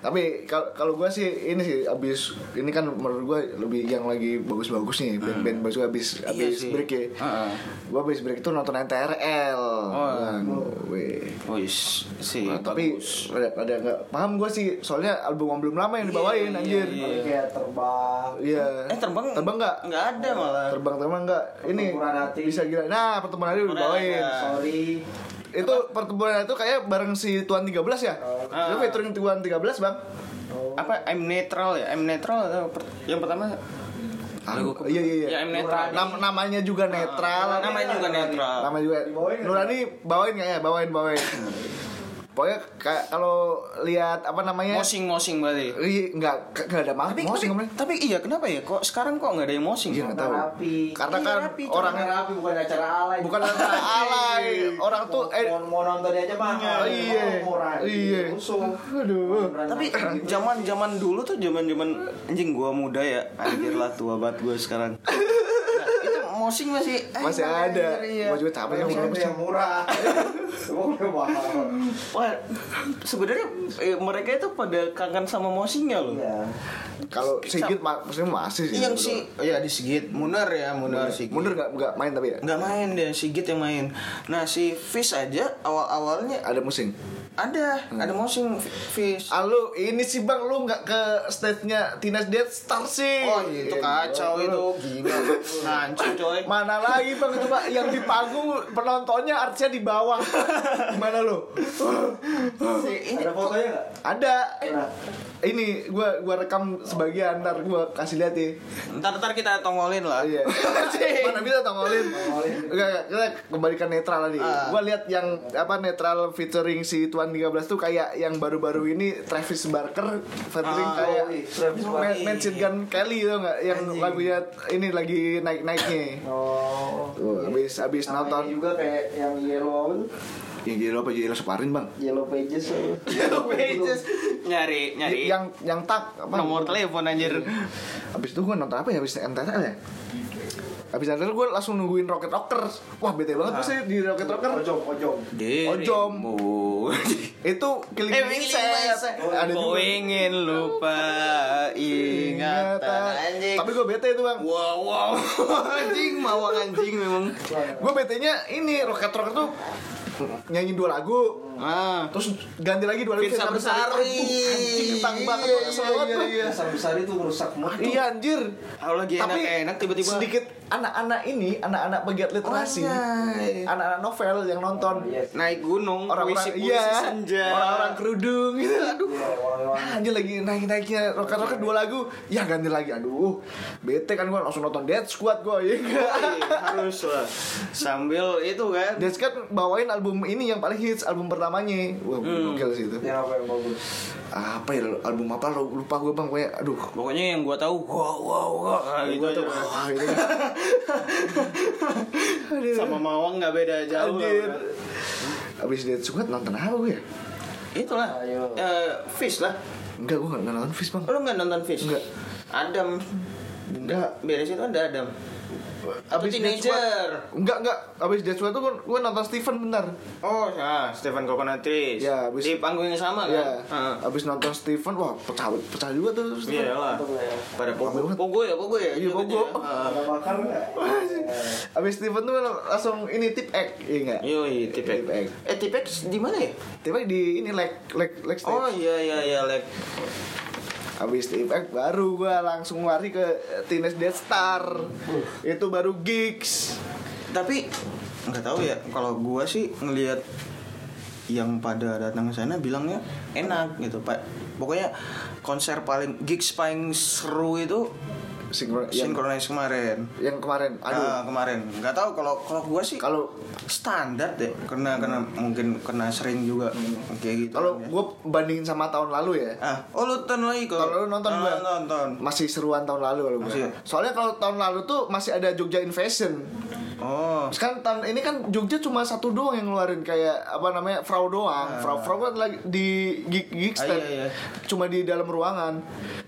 A: tapi kal- kalau gue sih ini sih abis ini kan menurut gue lebih yang lagi bagus-bagus nih band-band bagus abis abis
C: Hmm. Iya sih.
A: break ya
C: Heeh.
A: gue abis break itu nonton NTRL Nah, gue-
C: wis sih
A: Nah, tapi
C: Iya, bagus.
A: ada ada nggak paham gue sih soalnya album belum lama yang dibawain
C: Iya,
A: anjir
C: iya,
B: Tapi kayak terbang
A: iya
C: eh terbang
A: terbang nggak
C: nggak ada malah
A: terbang terbang nggak ini
B: Pertempuran hati. ya.
A: bisa gila nah pertemuan hati udah
C: Pertempuran
A: dibawain
C: ada.
B: sorry
A: itu pertemuan itu kayak bareng si tuan 13 ya itu featuring tuan 13 bang
C: apa I'm netral ya I'm netral atau per- yang pertama
A: Ah,
C: Lagu-
A: iya iya iya
C: ya I'm netral
A: Nam- namanya juga netral
C: namanya juga netral
A: Nama juga
B: Dibawain nggak?
A: Nurani bawain nggak ya bawain bawain pokoknya kayak kalau lihat apa namanya
C: mosing mosing berarti
A: Iya, nggak nggak ada mah
C: tapi,
A: mosing
C: tapi,
A: kemarin
C: tapi iya kenapa ya kok sekarang kok nggak ada yang mosing
A: Iya, nggak tahu.
B: Rapi.
A: Karena
C: Iya,
A: kan
C: rapi, cuma
A: orang
B: Acara rapi bukan acara alay Iya.
A: bukan antara alay, orang tuh eh
B: mau, mau nonton aja mah
A: Oh, iya. Iya. Aduh.
C: tapi
B: tapi
C: zaman zaman dulu tuh zaman zaman anjing gua muda ya anjir lah tua banget gua sekarang Nah, itu mosing masih eh,
A: masih ada.
C: iya.
A: Gua juga capek sama
B: tapi yang
A: mosing.
B: yang murah Semua udah mahal
C: wah sebenarnya eh, mereka itu pada kangen sama mosingnya loh
B: Iya.
A: Kalau Sigit ma- maksudnya masih sih. gitu.
C: yang si ya di Sigit Munar ya Munar Sigit
A: Mundur nggak nggak main tapi ya.
C: nggak main deh Sigit yang main nah si Fish aja awal awalnya
A: Ada musing.
C: ada
A: Hmm.
C: ada mosing Fish
A: Ah lu ini sih Bang lu nggak ke stage-nya Teenage Death Star sih. Iya,
C: oh itu kacau itu gila hancur coy
A: Mana lagi Bang coba yang di panggung penontonnya artisnya di bawah. Mana lu?
C: si ini
B: ada fotonya nggak
A: Ada.
B: Nah,
A: Ini gua gua rekam sebagian ntar gua kasih lihat ya.
C: ntar ntar kita tongolin lah
A: Iya. Mana bisa tongolin?
B: Tongolin.
A: Enggak, enggak, kita kembalikan netral tadi.
C: Ah.
A: Gua lihat yang apa netral featuring si Tuan 13 tuh kayak yang baru-baru ini Travis Barker featuring
C: Ah,
A: kayak
B: oh, iya, Travis
A: Ma-
C: Barker.
A: Machine Gun Kelly tuh enggak yang lagunya ini lagi naik-naiknya.
B: oh
A: Tuh, habis habis
B: Sama ini
A: nonton
B: juga kayak yang yellow apa tuh?
A: yang gila apa jadi separin, Bang.
B: yellow pages apa?
C: nyari nyari
A: Y- Yang yang tak apa?
C: nomor telepon anjir
A: Habis itu gua nonton apa ya? Habis NTRL ya? Habis NTRL gue langsung nungguin Rocket Rockers. Wah, bete
C: Ah.
A: banget gue sih di Rocket Rockers.
B: ojong ojong
A: Ojom. itu
C: Eh,
A: killing
C: Winning
A: Mindset.
C: Mindset.
A: ada
C: Kau
A: juga
C: ingin lupa ingatan
A: ingatan
C: anjing. Iya.
A: tapi gue bete itu bang
C: wow wow anjing mawang anjing memang.
A: gue bete nya ini rocket rocket tuh nyanyi dua lagu
C: Ah,
A: terus ganti lagi dua lagu
C: Firsa
A: Firsa
C: Besari.
A: Aduh, anjing ketang banget
C: Iya,
A: orang
C: iya,
A: selamat,
C: iya,
A: Bang.
C: iya.
B: besar besar itu merusak mood
A: iya anjir
C: kalau lagi
A: Tapi
C: enak-enak tiba-tiba Oh,
A: sedikit anak-anak ini anak-anak pegiat literasi
C: Anjay.
A: anak-anak novel yang nonton
B: Iya.
C: naik gunung
A: orang-orang
C: puisi-puisi
A: iya
C: senja.
A: orang-orang kerudung gitu aduh
B: Iya, orang-orang
A: anjir Ah, lagi naik naiknya roket roket dua lagu ya ganti lagi aduh bete kan gua langsung nonton Dead Squad gua ya
C: Iya, harus lah sambil itu kan
A: Dead Squad bawain album ini yang paling hits album pertamanya wah
C: Hmm.
A: gokil sih
C: Ya.
A: itu
B: yang apa yang bagus
A: apa ya album apa lu- lupa gua bang kayak aduh
C: pokoknya yang gua tahu wow wow wow gitu
A: gua
C: aja.
A: tuh wah gitu Aduh,
C: sama mawang nggak beda jauh
A: Iya.
C: lah, kan.
A: anjir
C: Bro. kan?
A: abis Dead Squad nonton apa gue ya
C: Itulah.
B: Ayo.
C: Eh, fish lah.
A: enggak gua nggak nonton Fish bang
C: Lu nggak nonton fish?
A: Nggak.
C: Adam.
A: enggak
C: Beres itu ada Adam. Atau
A: Abis Dead Squad
C: teenager.
A: enggak enggak abis Dead Squad tuh gua, gua nonton Steven bentar
C: Oh, ya, Stefan Kokonatris.
A: Ya, abis-
C: Di panggung yang sama kan?
A: Iya.
C: Heeh.
A: Abis nonton Steven, wah pecah pecah juga tuh
C: Iya
A: Steven.
C: lah.
B: Betul ya.
C: Pada
A: Rame
C: pogo.
A: banget.
C: Pogo ya, pogo ya.
A: Iya, pogo.
C: Heeh.
B: ada makan nggak
A: Abis Steven tuh langsung ini tip ek, iya enggak?
C: Yoi, tipek.
A: Tipek.
C: Eh, tipek di mana ya?
A: Tip ek di ini leg leg leg stage.
C: Oh iya iya iya, Lek.
A: Abis tip ek baru gua langsung lari ke Teenage Death Star.
C: Uh.
A: Itu baru gigs.
C: Tapi nggak tahu ya. Kalau gua sih ngelihat yang pada datang ke sana bilangnya enak gitu pak pokoknya konser paling gigs paling seru itu
A: sinkron yang,
C: Synchronize kemarin.
A: yang kemarin. Aduh.
C: Nah, kemarin nggak tahu kalau kalau gua sih
A: Kalau
C: standar deh karena karena mungkin kena sering juga kayak gitu
A: Hmm. kalau
C: ya.
A: gue bandingin sama tahun lalu ya.
C: ah oh lu tonton lagi kok
A: Tahun lalu nonton
C: Ah,
A: gua.
C: nonton
A: Masih seruan tahun lalu kalau gue.
C: Masih. ya?
A: Soalnya kalau tahun lalu tuh masih ada Jogja Invasion.
C: oh
A: Sekarang tahun ini kan Jogja cuma satu doang yang ngeluarin kayak apa namanya Frau doang. Frau Frau kan lagi di gig, gig
C: Ah,
A: stand.
C: iya, iya.
A: Cuma di dalam ruangan.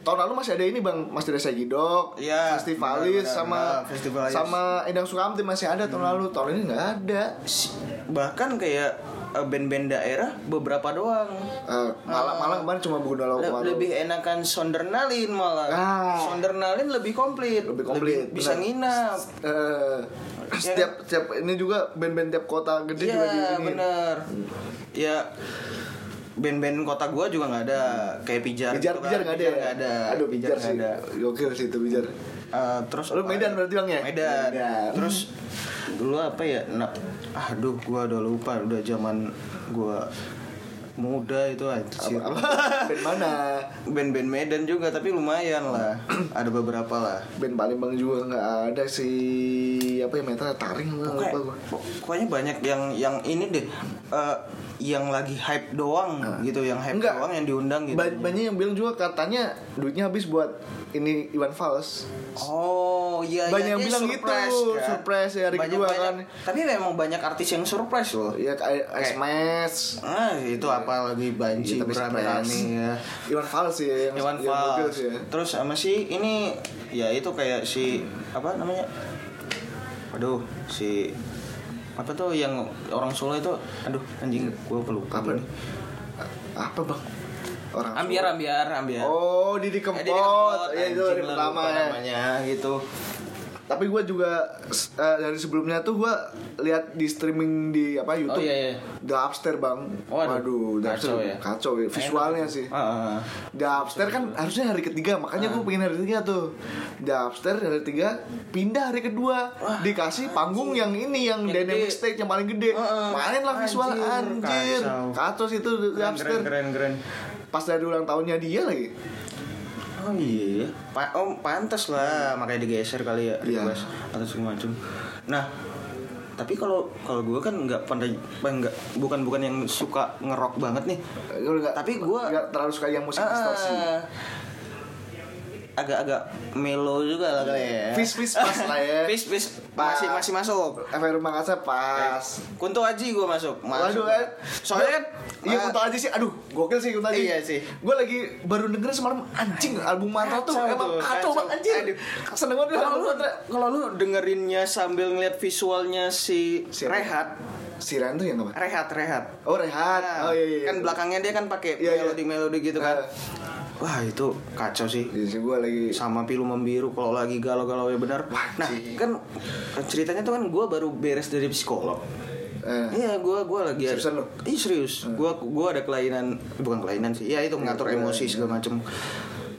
A: Tahun lalu masih ada ini Bang, masih ada Segidok,
C: Iya,
A: Festivalis
C: benar-benar.
A: sama
C: Nah, Festivalis. Hmm.
A: sama Endang Sukamti masih ada tahun lalu. Tahun ini nggak ada.
C: Si- bahkan kayak eh, band-band daerah beberapa doang
A: Eh, malah malah kemarin cuma Gundala
C: Ah. Le-
A: Ukmaru.
C: lebih enakan sondernalin malah
A: Ah.
C: sondernalin lebih komplit
A: Lebih komplit,
C: bisa
A: benar.
C: nginap
A: Eh, setiap setiap ini juga band-band tiap kota gede juga di
C: Iya
A: ini.
C: bener Ya Band-band kota gua juga nggak ada Kayak pijar
A: Pijar
C: gitu kan.
A: pijar nggak ada. ya?
C: nggak ada
A: Aduh pijar,
C: nggak
A: sih.
C: ada.
A: Gokil sih itu pijar.
C: Eh, Terus
A: Lu
C: apa?
A: Medan berarti bang ya?
C: Medan.
A: Medan.
C: Terus Dulu apa ya nah, Aduh gua udah lupa Udah zaman gua muda itu anjir
A: Apa- band mana?
C: Band-band Medan juga tapi lumayan lah Ada beberapa lah
A: Band Palembang juga nggak ada si apa ya metal taring lah
C: Kayak-
A: apa gua.
C: pok- pokoknya banyak yang yang ini deh eh, yang lagi hype doang gitu yang hype
A: Enggak.
C: doang yang diundang gitu
A: Ba- banyak yang bilang juga katanya duitnya habis buat ini Iwan Fals.
C: Oh iya
A: Banyak
C: iya,
A: yang
C: dia
A: bilang gitu, surprise ya, hari kedua kan.
C: Tapi memang banyak artis yang surprise loh.
A: Ya kayak Smash.
C: Ah itu apa lagi banci
A: Iya, tapi
C: berani
A: surprise.
C: ya.
A: Iwan Fals sih ya yang
C: Iwan
A: yang gokil
C: Fals.
A: sih ya.
C: Terus sama si ini ya itu kayak si apa namanya? Aduh, si apa tuh yang orang Solo itu aduh anjing gua pelupa
A: Apa
C: dulu
A: nih? Apa bang? Orang
C: ambiar ambiar ambiar
A: Oh, Didi
C: Eh,
A: Kempot.
C: Didi Kempot,
A: Iya, itu
C: anjing
A: dari
C: lah,
A: pertama
C: lupa
A: ya.
C: namanya gitu
A: Tapi gue juga s- eh, dari sebelumnya tuh gue lihat di streaming di apa YouTube.
C: iya, iya.
A: The Upstairs, Bang.
C: Oh,
A: Waduh,
C: aduh.
A: The
C: Kacau
A: Upstairs.
C: ya.
A: Kacau ya. Visualnya sih.
C: Ah, ah, ah.
A: The Upstairs kan harusnya hari ketiga, makanya gue pengen hari ketiga tuh. The Upstairs hari ketiga pindah hari kedua. Dikasih panggung yang ini yang,
C: Yang
A: dynamic
C: gede.
A: stage yang paling gede.
C: Heeh.
A: Main lah visual
C: Anjir,
A: anjir.
C: kacau.
A: Kacau sih itu The
C: keren keren
A: Upstairs.
C: keren keren
A: Pas dari ulang tahunnya dia lagi.
C: oh iya pa oh pantas lah makanya digeser kali ya
A: Iya.
C: request atau segala macam nah tapi kalau kalau gue kan nggak pandai nggak bukan bukan yang suka ngerok banget nih
A: Gua nggak-
C: Tapi gua-
A: nggak terlalu suka yang musik
C: Ah,
A: distorsi.
C: agak-agak mellow juga lah kali ya
A: Fish fish pas lah ya.
C: Fis, fis.
A: Pas.
C: masih masih masuk
A: Efek rumah kaca pas.
C: Kunto Aji gue masuk.
A: Waduh
C: Eh, masuk.
A: kan.
C: Soalnya kan
A: Iya
C: ah,
A: Kunto Aji sih Aduh gokil sih Kunto Aji
C: Iya sih.
A: Gue lagi baru dengerin semalam Anjing album Mantra tuh
C: Kacau
A: Emang
C: tuh,
A: kacau
C: kacau.
A: banget anjing
C: Aduh.
A: Seneng banget
C: kalau
A: album
C: lu
A: Mantra.
C: kalau lu dengerinnya sambil ngeliat visualnya si
A: Siapa?
C: Rehat,
A: Si Ren tuh yang apa?
C: Rehat, Rehat.
A: Oh Rehat Oh
C: Nah,
A: iya iya
C: Kan belakangnya dia kan pakai
A: Iya, iya.
C: melodi-melodi gitu kan.
A: Ah.
C: Wah, itu kacau sih.
A: Iya sih gue lagi
C: Sama pilu membiru kalau lagi galau-galau ya benar. Nah, kan ceritanya tuh kan gue baru beres dari psikolog.
A: eh,
C: Iya, gua gua lagi ada.
A: Seriusan lu?
C: Ih, serius. Gua gua ada kelainan, bukan kelainan sih. Ya itu mengatur emosi segala macem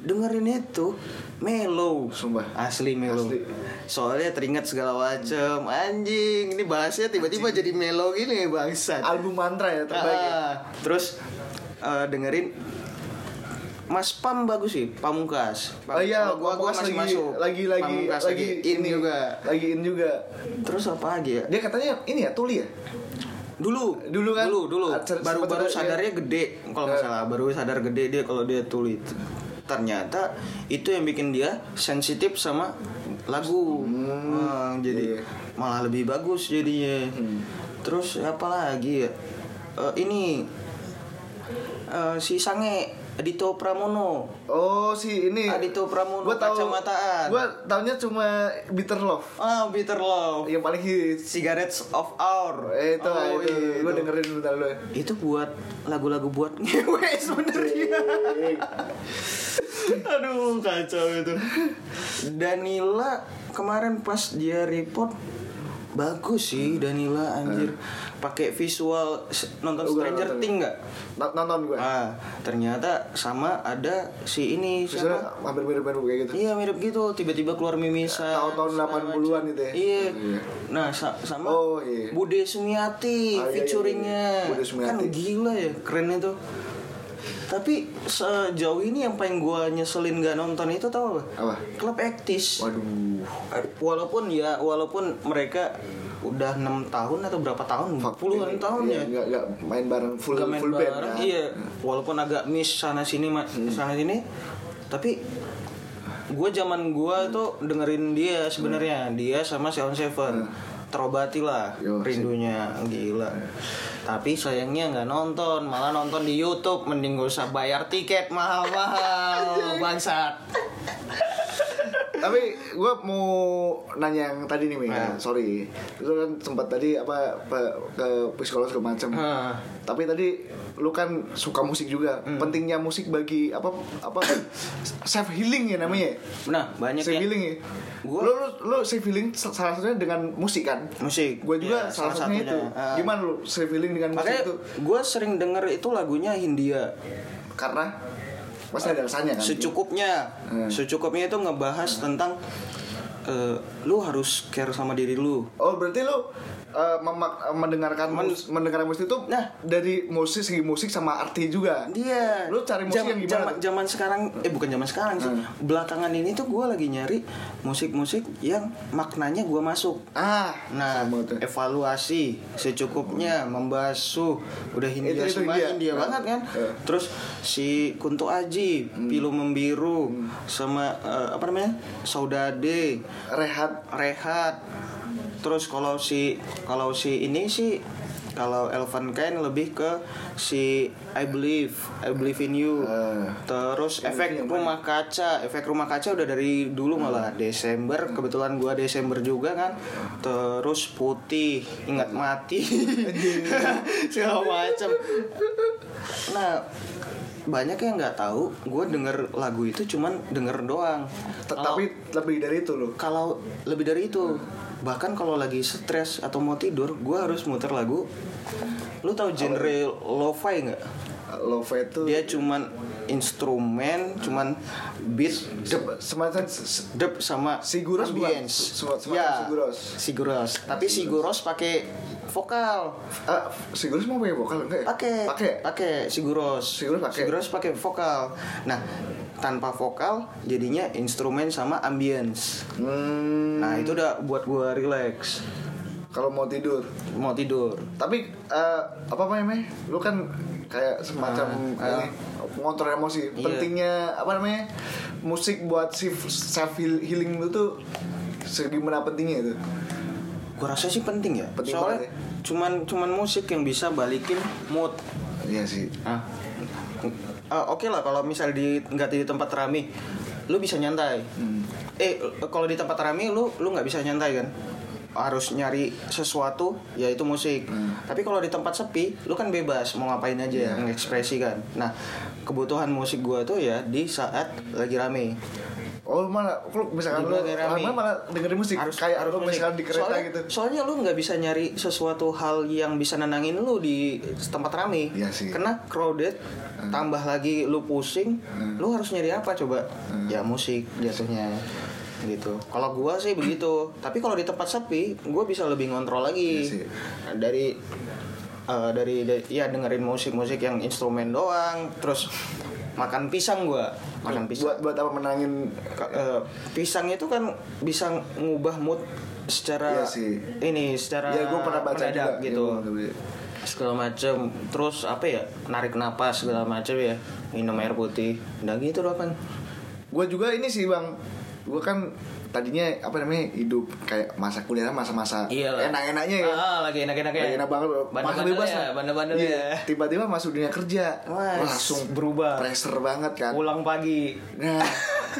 C: Dengerin itu mellow,
A: Sumpah.
C: Asli mellow.
A: Asli.
C: Soalnya teringat segala macem Anjing, ini bahasnya tiba-tiba jadi mellow gini, bangsat.
A: Album Mantra ya terbaik ya.
C: Ah, Terus eh, dengerin Mas Pam bagus sih, Pamungkas.
A: Oh iya,
C: Kalau gua gua
A: Pamungkas
C: Ah, masih
A: lagi,
C: masuk.
A: lagi lagi
C: Pamungkas lagi, in juga.
A: lagi in juga.
C: Terus apa lagi ya?
A: Dia katanya ini ya tuli ya.
C: dulu
A: Dulu kan?
C: dulu dulu
A: Ah, cer-
C: baru
A: sempet
C: baru
A: ada-
C: sadarnya gede kalau nggak
A: Eh.
C: salah baru sadar gede dia kalau dia tuli ternyata itu yang bikin dia sensitif sama lagu Nah, jadi
A: iya. Hmm.
C: malah lebih bagus jadinya terus apa lagi ya Eh, ini eh, si sange Adito Pramono
A: Oh si ini.
C: Adito Pramono
A: Gue tahu.
C: kacamataan
A: Gue tahunya cuma Bitter Love
C: ah Peter Love
A: yang paling hits.
C: Cigarettes of Our
A: Eh, itu,
C: Oh,
A: itu.
C: iya,
A: Gue
C: itu.
A: dengerin ya. bentar lu.
C: itu buat lagu-lagu buat ngewe sebenarnya aduh kacau itu Danila kemarin pas dia report bagus sih Danila anjir pakai visual s- Hmm. nonton
A: Gua
C: Stranger
A: nonton.
C: Things nggak
A: N- Nonton gue.
C: ah ternyata sama ada si ini
A: Misalnya
C: siapa
A: hampir mirip-mirip kayak gitu.
C: Iya mirip gitu, tiba-tiba keluar mimisan
A: Iya, Tahun-tahun
C: segala macam.
A: 80-an gitu ya?
C: Iya
A: Iya.
C: Nah sa- sama
A: Oh, iya.
C: Bude Sumiati
A: Ah, iya, iya,
C: featuringnya
A: iya. Bude Sumiati.
C: Kan gila ya, keren itu Tapi sejauh ini yang paling gua nyeselin gak nonton itu tau apa?
A: Apa?
C: Klub Ektis.
A: Waduh.
C: Walaupun ya walaupun mereka udah enam tahun atau berapa tahun? Puluhan tahun
A: Iya,
C: ya.
A: Nggak nggak main bareng full
C: Gak main
A: full band.
C: bareng,
A: kan? Hmm.
C: iya walaupun agak miss sana sini ma- sana sini tapi gue zaman gue tuh dengerin dia sebenarnya dia sama Sean Seven terobati lah
A: Hmm. Yo, Hmm. sip.
C: rindunya gila tapi sayangnya nggak nonton malah nonton di YouTube mending gak usah bayar tiket mahal-mahal bangsat
A: Tapi gue mau nanya yang tadi nih, Ming.
C: Nah.
A: Sorry. Lu kan sempat tadi apa pe- ke psikolog segala macam.
C: Hah.
A: Tapi tadi lu kan suka musik juga.
C: Hmm.
A: Pentingnya musik bagi apa apa self healing ya namanya. ya?
C: nah banyak
A: Self
C: ya
A: healing ya.
C: Gua-
A: Lu, lu lu self healing salah satunya dengan musik kan?
C: musik
A: Gue juga
C: Ya,
A: salah, satunya, itu.
C: Ah.
A: Gimana lu self healing dengan musik
C: makanya
A: itu?
C: gue sering denger itu lagunya Hindia
A: Karena pasti ada rasanya kan.
C: secukupnya
A: Hmm.
C: secukupnya itu ngebahas tentang eh, lu harus care sama diri lu
A: Oh berarti lu uh, memak- uh, mendengarkan mus- mendengarkan musik itu
C: Nah.
A: dari musik segi musik sama arti juga.
C: dia
A: Iya, Lu cari musik
C: Jam-
A: yang gimana
C: zaman,
A: tuh? Hmm.
C: zaman sekarang eh bukan zaman sekarang sih belakangan ini tuh gue lagi nyari musik-musik yang maknanya gue masuk
A: Ah,
C: nah
A: sama tuh. Hmm.
C: evaluasi secukupnya membasuh udah Hindia
A: Itu- itu
C: semua
A: Hindia.
C: Hindia
A: Nah.
C: banget kan
A: Eh.
C: terus si Kunto Aji
A: Hmm.
C: Pilu Membiru sama eh, apa namanya Saudade
A: Rehat
C: rehat terus kalau si kalau si ini sih kalau Elvan Kain lebih ke si I believe I believe in you
A: Ah.
C: terus efek
A: yang
C: rumah kaca efek rumah kaca udah dari dulu malah Desember kebetulan gua Desember juga kan terus putih ingat mati segala macam nah banyak yang nggak tahu gue denger lagu itu cuman denger doang
A: T-
C: Kalau-
A: tapi lebih dari itu lu.
C: kalau lebih dari itu bahkan kalau lagi stres atau mau tidur gue harus muter lagu lu tahu genre lo-fi nggak
A: Love itu
C: dia cuman instrumen cuman beat
A: se-
C: dep
A: semacam se-
C: dep sama
A: Siguros bukan?
C: ambience
A: Semua- semua
C: ya
A: Siguros.
C: siguros tapi siguros pakai vokal
A: ah, Sigurus mau pakai vokal enggak ya?
C: pakai
A: Pakai.
C: pakai siguros
A: Siguros pakai.
C: siguros pakai vokal nah tanpa vokal jadinya instrumen sama ambience
A: Hmm,
C: nah itu udah buat gua relax
A: kalau mau tidur.
C: mau tidur
A: Tapi eh, apa namanya? Lu kan kayak semacam
C: Ah, ah.
A: ini, ngontrol emosi.
C: Iya.
A: Pentingnya apa namanya? Musik buat self healing lu tuh segimana pentingnya itu?
C: Gua rasa sih penting ya.
A: Penting
C: Soalnya
A: banget ya.
C: cuman cuman musik yang bisa balikin mood.
A: Iya sih.
C: Ah. Ah, Oke lah kalau misal di nggak di tempat rame, lu bisa nyantai.
A: Hmm.
C: Eh kalau di tempat rame lu lu nggak bisa nyantai kan? harus nyari sesuatu yaitu musik
A: Hmm.
C: tapi kalau di tempat sepi lu kan bebas mau ngapain
A: Iya.
C: aja mengekspresikan nah kebutuhan musik gua tuh ya di saat lagi rame
A: Oh lu malah lu misalkan lu
C: Dibilang kayak rame.
A: lama malah dengerin musik kayak lu
C: musik.
A: misalkan di kereta
C: soalnya,
A: gitu.
C: soalnya lu nggak bisa nyari sesuatu hal yang bisa nenangin lu di tempat rame
A: Iya sih.
C: karena crowded tambah lagi lu pusing lu harus nyari apa coba ya musik jatuhnya gitu kalau gua sih begitu tapi kalau di tempat sepi gua bisa lebih ngontrol
A: Iya
C: lagi
A: sih.
C: dari eh, dari, dari ya dengerin musik-musik yang instrumen doang terus makan pisang gua makan pisang
A: Buat buat apa menangin
C: Ka- eh, pisang itu kan bisa ngubah mood
A: Iya
C: secara
A: sih.
C: ini secara
A: ya gue pernah baca juga
C: Nah, mendadak gitu
A: Ya, gua pernah baca.
C: segala macem terus apa ya narik napas segala macem ya minum air putih udah gitu doang kan
A: gue juga ini sih bang gue kan tadinya apa namanya hidup kayak masa kuliah masa-masa
C: Iyalah.
A: enak-enaknya ya
C: Iya ah, lagi enak-enaknya
A: Lagi enak banget masa
C: bandel
A: bebas
C: ya
A: lah.
C: bandel-bandel
A: Iya,
C: ya
A: tiba-tiba masuk dunia kerja
C: Wah,
A: langsung
C: berubah.
A: pressure banget kan
C: ya. pulang pagi
A: nah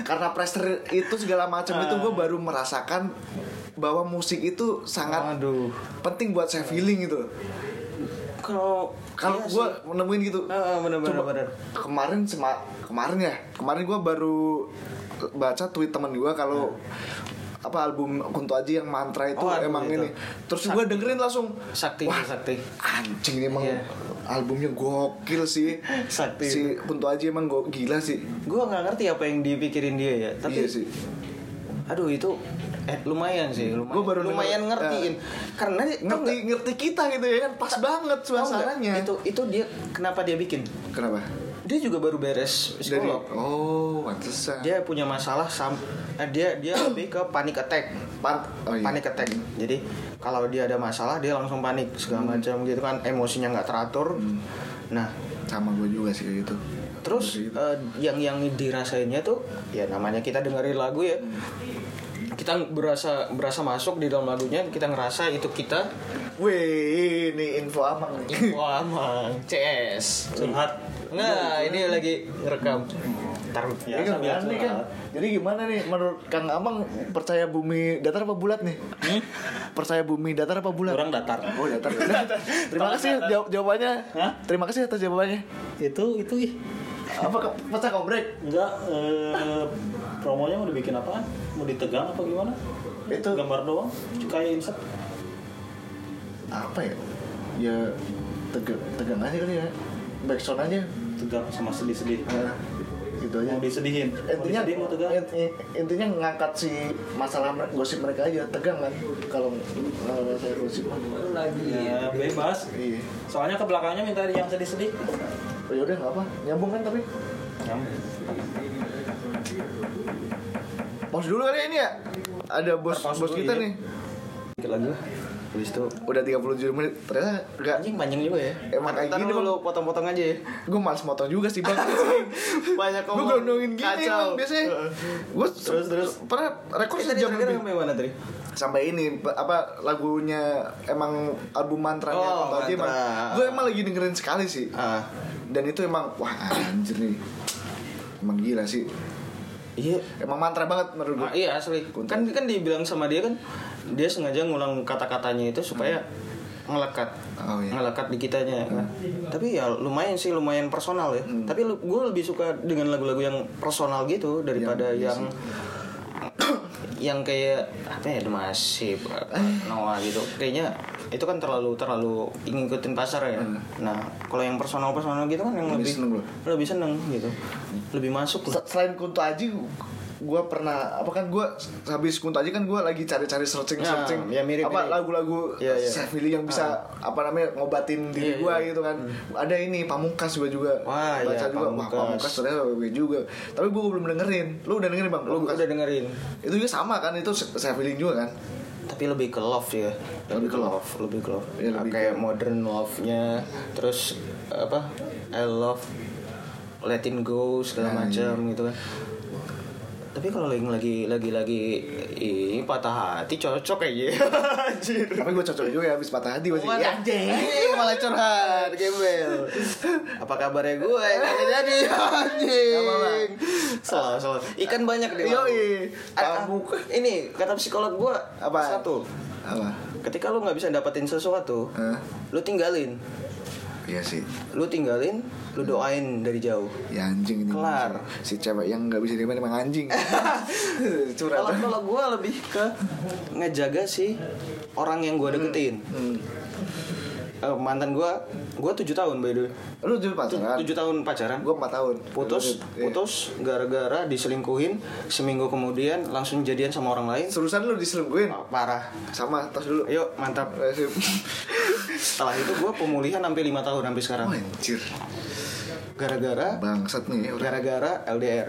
A: karena pressure itu segala macam itu
C: Ah.
A: gue baru merasakan bahwa musik itu sangat
C: Aduh.
A: penting buat self healing gitu
C: kalau
A: kalau
C: iya
A: gue
C: sih.
A: nemuin gitu
C: Ah, ah, bener-bener,
A: Coba,
C: bener.
A: kemarin sema- kemarin ya kemarin gue baru baca tweet temen gue kalau apa album Kunto Aji yang mantra itu
C: Oh, album
A: emang
C: itu.
A: ini terus gue dengerin langsung
C: sakti
A: Wah,
C: sakti
A: anjing ini emang
C: Iya.
A: albumnya gokil sih
C: Sakti.
A: si Kunto Aji emang go- gila sih
C: gue nggak ngerti apa yang dipikirin dia ya tapi
A: iya sih
C: aduh itu eh, lumayan sih lumayan,
A: Gua baru denger,
C: lumayan
A: eh,
C: ngertiin karena dia- tau
A: ngerti ngerti kita gitu ya kan pas banget
C: nggak- tau nggak,
A: suasananya
C: itu itu dia kenapa dia bikin
A: kenapa
C: dia juga baru beres
A: dari
C: psikolog
A: oh pantesan
C: dia punya masalah sam eh, dia dia lebih ke panic attack pan
A: Oh, iya.
C: panic attack jadi kalau dia ada masalah dia langsung panik
A: Hmm.
C: segala macam gitu kan emosinya nggak teratur nah
A: sama gue juga sih kayak gitu
C: terus
A: Kayak gitu.
C: eh, yang yang dirasainnya tuh ya namanya kita dengerin lagu ya
A: Hmm.
C: kita berasa berasa masuk di dalam lagunya kita ngerasa itu kita
A: Wih, ini info aman nih.
C: wah mang CS curhat nah ini lagi rekam ntar
A: Ini kan
C: sambil
A: beneran nih kan.
C: curhat.
A: Jadi gimana nih menurut Kang Amang percaya bumi datar apa bulat nih? Percaya bumi datar apa bulat?
B: Hmm? kurang datar
A: Oh
C: iya.
A: datar. Terima kasih jawab jawabannya.
B: Hah?
A: Terima kasih atas jawabannya.
B: itu itu ih
A: Apa ke- pecah kombrek?
B: enggak eh, promonya mau dibikin apaan mau ditegang apa gimana
A: Itu.
B: gambar doang kayak insert
A: Apa ya? Ya tegang tegang aja kali ya. Backsound aja.
B: tegang sama sedih-sedih
A: Nah, gitu aja.
B: mau disedihin mau
A: Intinya
B: disedihin mau tegang
A: inti- intinya ngangkat si masalah mere- gosip mereka aja tegang kan kalau kalau saya gosip.
B: ya bebas
A: Iya.
B: soalnya ke belakangnya minta yang sedih-sedih
A: Oh, ya udah nggak apa. Nyambung kan tapi Pause dulu kali ya ini ya. Ada bos
C: Pause
A: bos
C: dulu,
A: kita
C: iya.
A: nih.
C: dikit lagi lah. habis itu
A: Udah 37 menit. Ternyata enggak
C: anjing panjang juga ya
A: Emang kayak
C: Ntar
A: gini,
C: lu-
A: Bang.
C: lu potong-potong aja ya
A: gue males motong juga sih bang.
C: Banyak
A: Gue
C: ngomong.
A: gondongin gini
C: Kacau. Eh,
A: Bang, biasanya. Gue terus terus pernah rekor
C: kita
A: sejam
C: terakhir
A: lebih.
C: sampai mana tadi
A: Sampai ini pe- apa lagunya emang album mantranya
C: Oh,
A: atau aja emang.
C: mantra.
A: Gue emang lagi dengerin sekali sih.
C: ah
A: Dan itu emang wah anjir nih. Emang gila sih.
C: iya
A: Emang mantra banget menurut gue.
C: Ah, iya asli. Kan kan dibilang sama dia kan dia sengaja ngulang kata-katanya itu supaya ngelekat.
A: Oh, iya.
C: Ngelekat di kitanya. Tapi ya lumayan sih lumayan personal ya.
A: Hmm.
C: Tapi gue lebih suka dengan lagu-lagu yang personal gitu daripada
A: Yang- iya
C: yang yang kayak apa ya Demasif, Noah gitu. Kayaknya itu kan terlalu terlalu ngikutin pasar ya. Nah, kalau yang personal personal gitu kan yang
A: Hmm. Lebih
C: lebih
A: seneng lu. Hmm.
C: lebih seneng gitu. Lebih masuk lah.
A: Se- selain Kunto Aji gue pernah apa kan gue habis Kunto Aji kan gue lagi cari-cari searching
C: Ya,
A: searching
C: ya, mirip,
A: apa
C: mirip.
A: lagu-lagu
C: Ya, ya.
A: Syekh Willy yang bisa apa namanya ngobatin diri
C: Ah. Iya,
A: gue
C: iya.
A: gitu kan ada ini Pamungkas gue juga
C: Wah,
A: baca juga
C: iya,
A: Pamungkas.
C: Pamungkas.
A: wah Pamungkas ternyata gue juga tapi gue belum dengerin lu udah dengerin bang
C: Lu
A: Pamungkas
C: udah dengerin?
A: itu juga sama kan itu Syekh Willy juga kan
C: tapi lebih ke love ya
A: Lebih ke love.
C: lebih ke love
A: Iya, lebih ke-
C: kayak modern love nya terus apa I love Latin go segala
A: Nah,
C: macam gitu kan tapi kalau lagi lagi lagi lagi ih, patah hati cocok kayaknya anjir
A: tapi gue cocok juga ya habis patah hati pasti
C: Mana?
A: ya anjing
C: Ih, malah curhat gembel apa kabarnya gue nggak jadi anjing salah salah ikan banyak deh
A: Yoi.
C: ini kata psikolog gue
A: Apa?
C: satu
A: apa
C: ketika lu nggak bisa dapetin sesuatu
A: Hah?
C: lu tinggalin
A: iya sih
C: lu tinggalin lu doain dari jauh
A: ya anjing ini
C: Kelar.
A: si cewek yang nggak bisa dimain emang anjing curhat
C: kalau kalau gue lebih ke ngejaga sih orang yang gue deketin Eh, mantan gue gue tujuh tahun by the way
A: Lu dulu pacaran?
C: tujuh tahun pacaran
A: Gue 4 tahun
C: putus
A: Iya.
C: putus gara-gara diselingkuhin seminggu kemudian langsung jadian sama orang lain
A: Serusan lu diselingkuhin?
C: Ah, parah
A: Sama, tos dulu
C: yuk mantap
A: Eh, sip.
C: setelah itu gue pemulihan sampai lima tahun sampai sekarang
A: Oh, anjir
C: gara-gara
A: Bangsat nih ya orang
C: gara-gara LDR.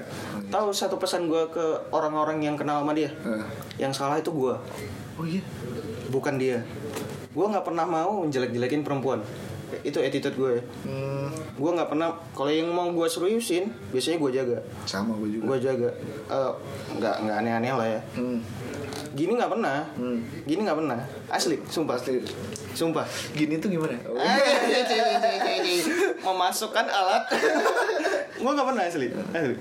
C: Tahu satu pesan gue ke orang-orang yang kenal sama dia,
A: Eh.
C: yang salah itu gue,
A: Oh iya
C: bukan dia. Gue nggak pernah mau jelek-jelekin perempuan. Itu attitude gue.
A: hmm,
C: Gue nggak pernah. Kalau yang mau gue seriusin, biasanya gue jaga.
A: Sama gue juga
C: Gue jaga. Eh, Nggak nggak aneh-aneh lah ya.
A: hmm.
C: Gini nggak pernah. Gini nggak pernah. Asli, sumpah.
A: Asli.
C: Sumpah.
A: Gini tuh gimana? Oh,
C: Eh, eh, eh, eh, eh, eh, eh. memasukkan alat gue nggak pernah asli, asli.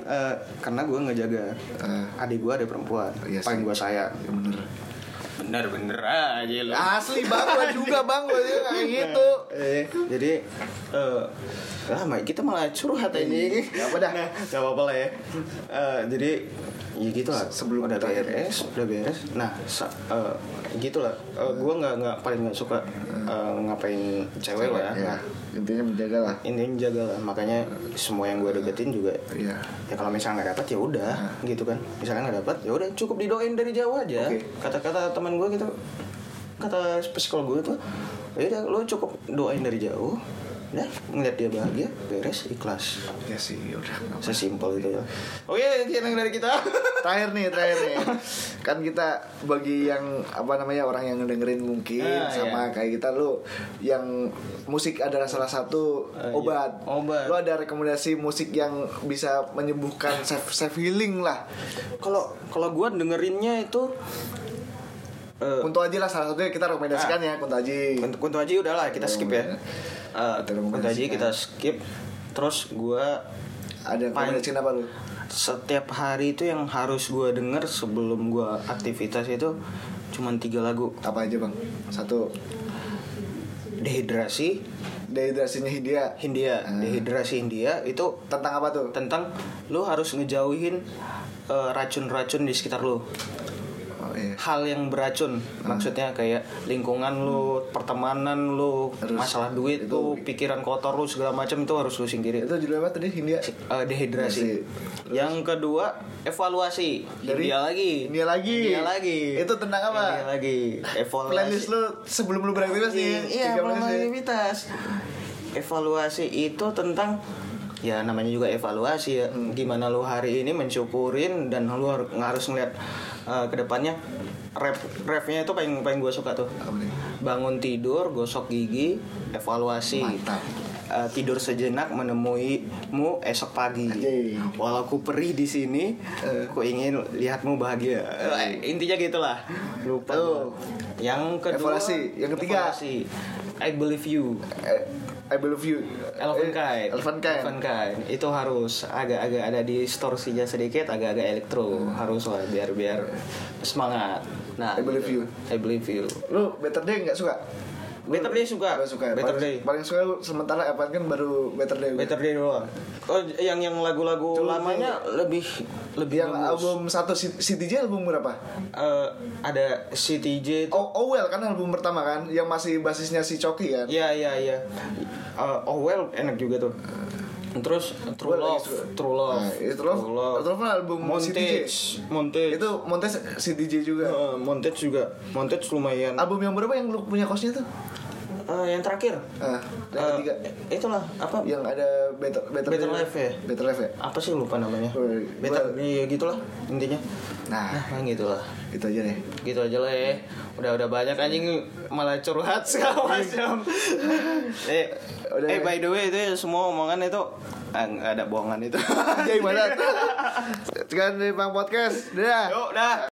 C: Eh, karena gue ngejaga
A: Eh.
C: adik gue ada perempuan
A: Iya sih.
C: paling gue sayang
A: iya, bener
C: bener bener aja
A: Asli bang, gue juga bang Gue juga kayak gitu
C: jadi eh, lama kita malah curhat ini
A: Nggak Ya, apa dah.
C: Nah, nggak apa-apa lah ya Eh, jadi ya gitu lah sebelum udah beres udah beres nah sa- eh, gitu lah Eh, gua nggak nggak paling nggak suka eh, ngapain cewek lah
A: ya
C: Nah,
A: intinya menjaga lah
C: ini jaga lah makanya semua yang gue deketin juga
A: Iya. Nah.
C: ya kalau misalnya nggak dapat ya udah gitu kan misalnya nggak dapat ya udah cukup didoain dari jauh aja
A: Oke.
C: kata-kata teman gue gitu kata psikolog gue tuh ya udah lo cukup doain dari jauh Udah, ngeliat dia bahagia beres ikhlas
A: ya sih udah
C: sesimpel itu ya oke sekian dari kita
A: terakhir nih terakhir nih kan kita bagi yang apa namanya orang yang dengerin mungkin
C: Ah,
A: sama kayak kita lu yang musik adalah salah satu obat
C: Ah, iya. Obat.
A: lu ada rekomendasi musik yang bisa menyembuhkan self self healing lah
C: kalau kalau gue dengerinnya itu eh,
A: Kunto Aji lah salah satunya kita rekomendasikan
C: Ah.
A: ya Kunto Aji
C: Kunt- Kunto Aji udahlah kita skip ya. Eh,
A: Oh, iya. Kita ya.
C: Kunto Aji kita skip. Terus gua
A: ada
C: Pan-
A: rekomendasiin apa lu
C: setiap hari itu yang harus gua denger sebelum gua aktivitas itu cuman tiga lagu.
A: apa aja bang satu
C: Dehidrasi
A: dehidrasinya Hindia
C: Hindia, dehidrasi Hindia itu
A: tentang apa tuh
C: tentang lu harus ngejauhin eh, racun-racun di sekitar lu.
A: oh, iya.
C: hal yang beracun maksudnya kayak lingkungan lu pertemanan lu
A: Harus.
C: masalah duit
A: Itu-
C: lu pikiran kotor lu segala macam itu harus lu singkirin
A: itu judulnya apa tadi Hindia
C: Eh, dehidrasi yang kedua evaluasi
A: Dari-
C: India lagi
A: India lagi.
C: India lagi
A: Itu tentang apa?
C: India lagi evaluasi
A: playlist lu sebelum lu beraktivitas nih
C: iya
A: 13
C: belum
A: nih.
C: aktivitas evaluasi itu tentang ya namanya juga evaluasi ya
A: Hmm.
C: gimana lu hari ini mensyukurin dan lu har- harus ngeliat uh, ke depannya rap rapnya itu paling paling gue suka tuh
A: Apa nih?
C: bangun tidur gosok gigi evaluasi
A: Mantap.
C: Uh, tidur sejenak menemuimu esok pagi.
A: Anjing.
C: Walau ku perih di sini,
A: Eh.
C: ku ingin lihatmu bahagia. Eh, intinya gitulah. Lupa. gua. Yang kedua
A: Evaluasi. Yang ketiga.
C: evaluasi. I believe you.
A: Eh, I believe you.
C: Elephant Kind.
A: Eh, Elephant Kind.
C: Elephant Kind. Itu harus agak-agak ada distorsinya sedikit, agak-agak elektro. Harus lah biar biar semangat. Nah,
A: I believe you.
C: gitu. I believe you.
A: Lu Better Day nggak suka?
C: Better Day suka.
A: Gak suka. ya?
C: Better
A: paling,
C: Day.
A: Paling suka lu sementara Elephant Kind baru Better Day.
C: Better Day doang. Oh, yang yang lagu-lagu
A: Cuma
C: lamanya lebih lebih
A: Yang
C: bagus.
A: album satu C- CTJ album berapa?
C: Eh, ada CTJ itu.
A: Oh, oh well kan album pertama kan yang masih basisnya si Coki kan.
C: Ya ya ya. Eh, oh well enak juga tuh. Terus True
A: Gua lagi
C: Love,
A: suka.
C: True Love,
A: Nah, itu True Love- True Love album
C: Montage,
A: CTJ.
C: Montage.
A: Itu montes CTJ juga.
C: Eh, Montage juga. Montage lumayan.
A: Album yang berapa yang lu punya kosnya tuh?
C: Eh, yang terakhir.
A: Ah, yang
C: Eh,
A: ketiga. Iya.
C: Itulah apa?
A: Yang ada Better Better,
C: Better Life ya?
A: Better Life ya.
C: Apa sih lupa namanya?
A: Gua-
C: Better
A: gua-
C: ya gitulah intinya.
A: Nah,
C: Nah, gitulah.
A: itu aja deh.
C: gitu aja lah ya udah udah banyak anjing malah curhat segala macam eh,
A: Udah
C: eh
A: ya.
C: by the way itu ya, semua omongan itu ah,
A: Iya,
C: nggak ada bohongan itu
A: Jadi banget. Sekian dari Bang Podcast. Dadah.
C: yuk dah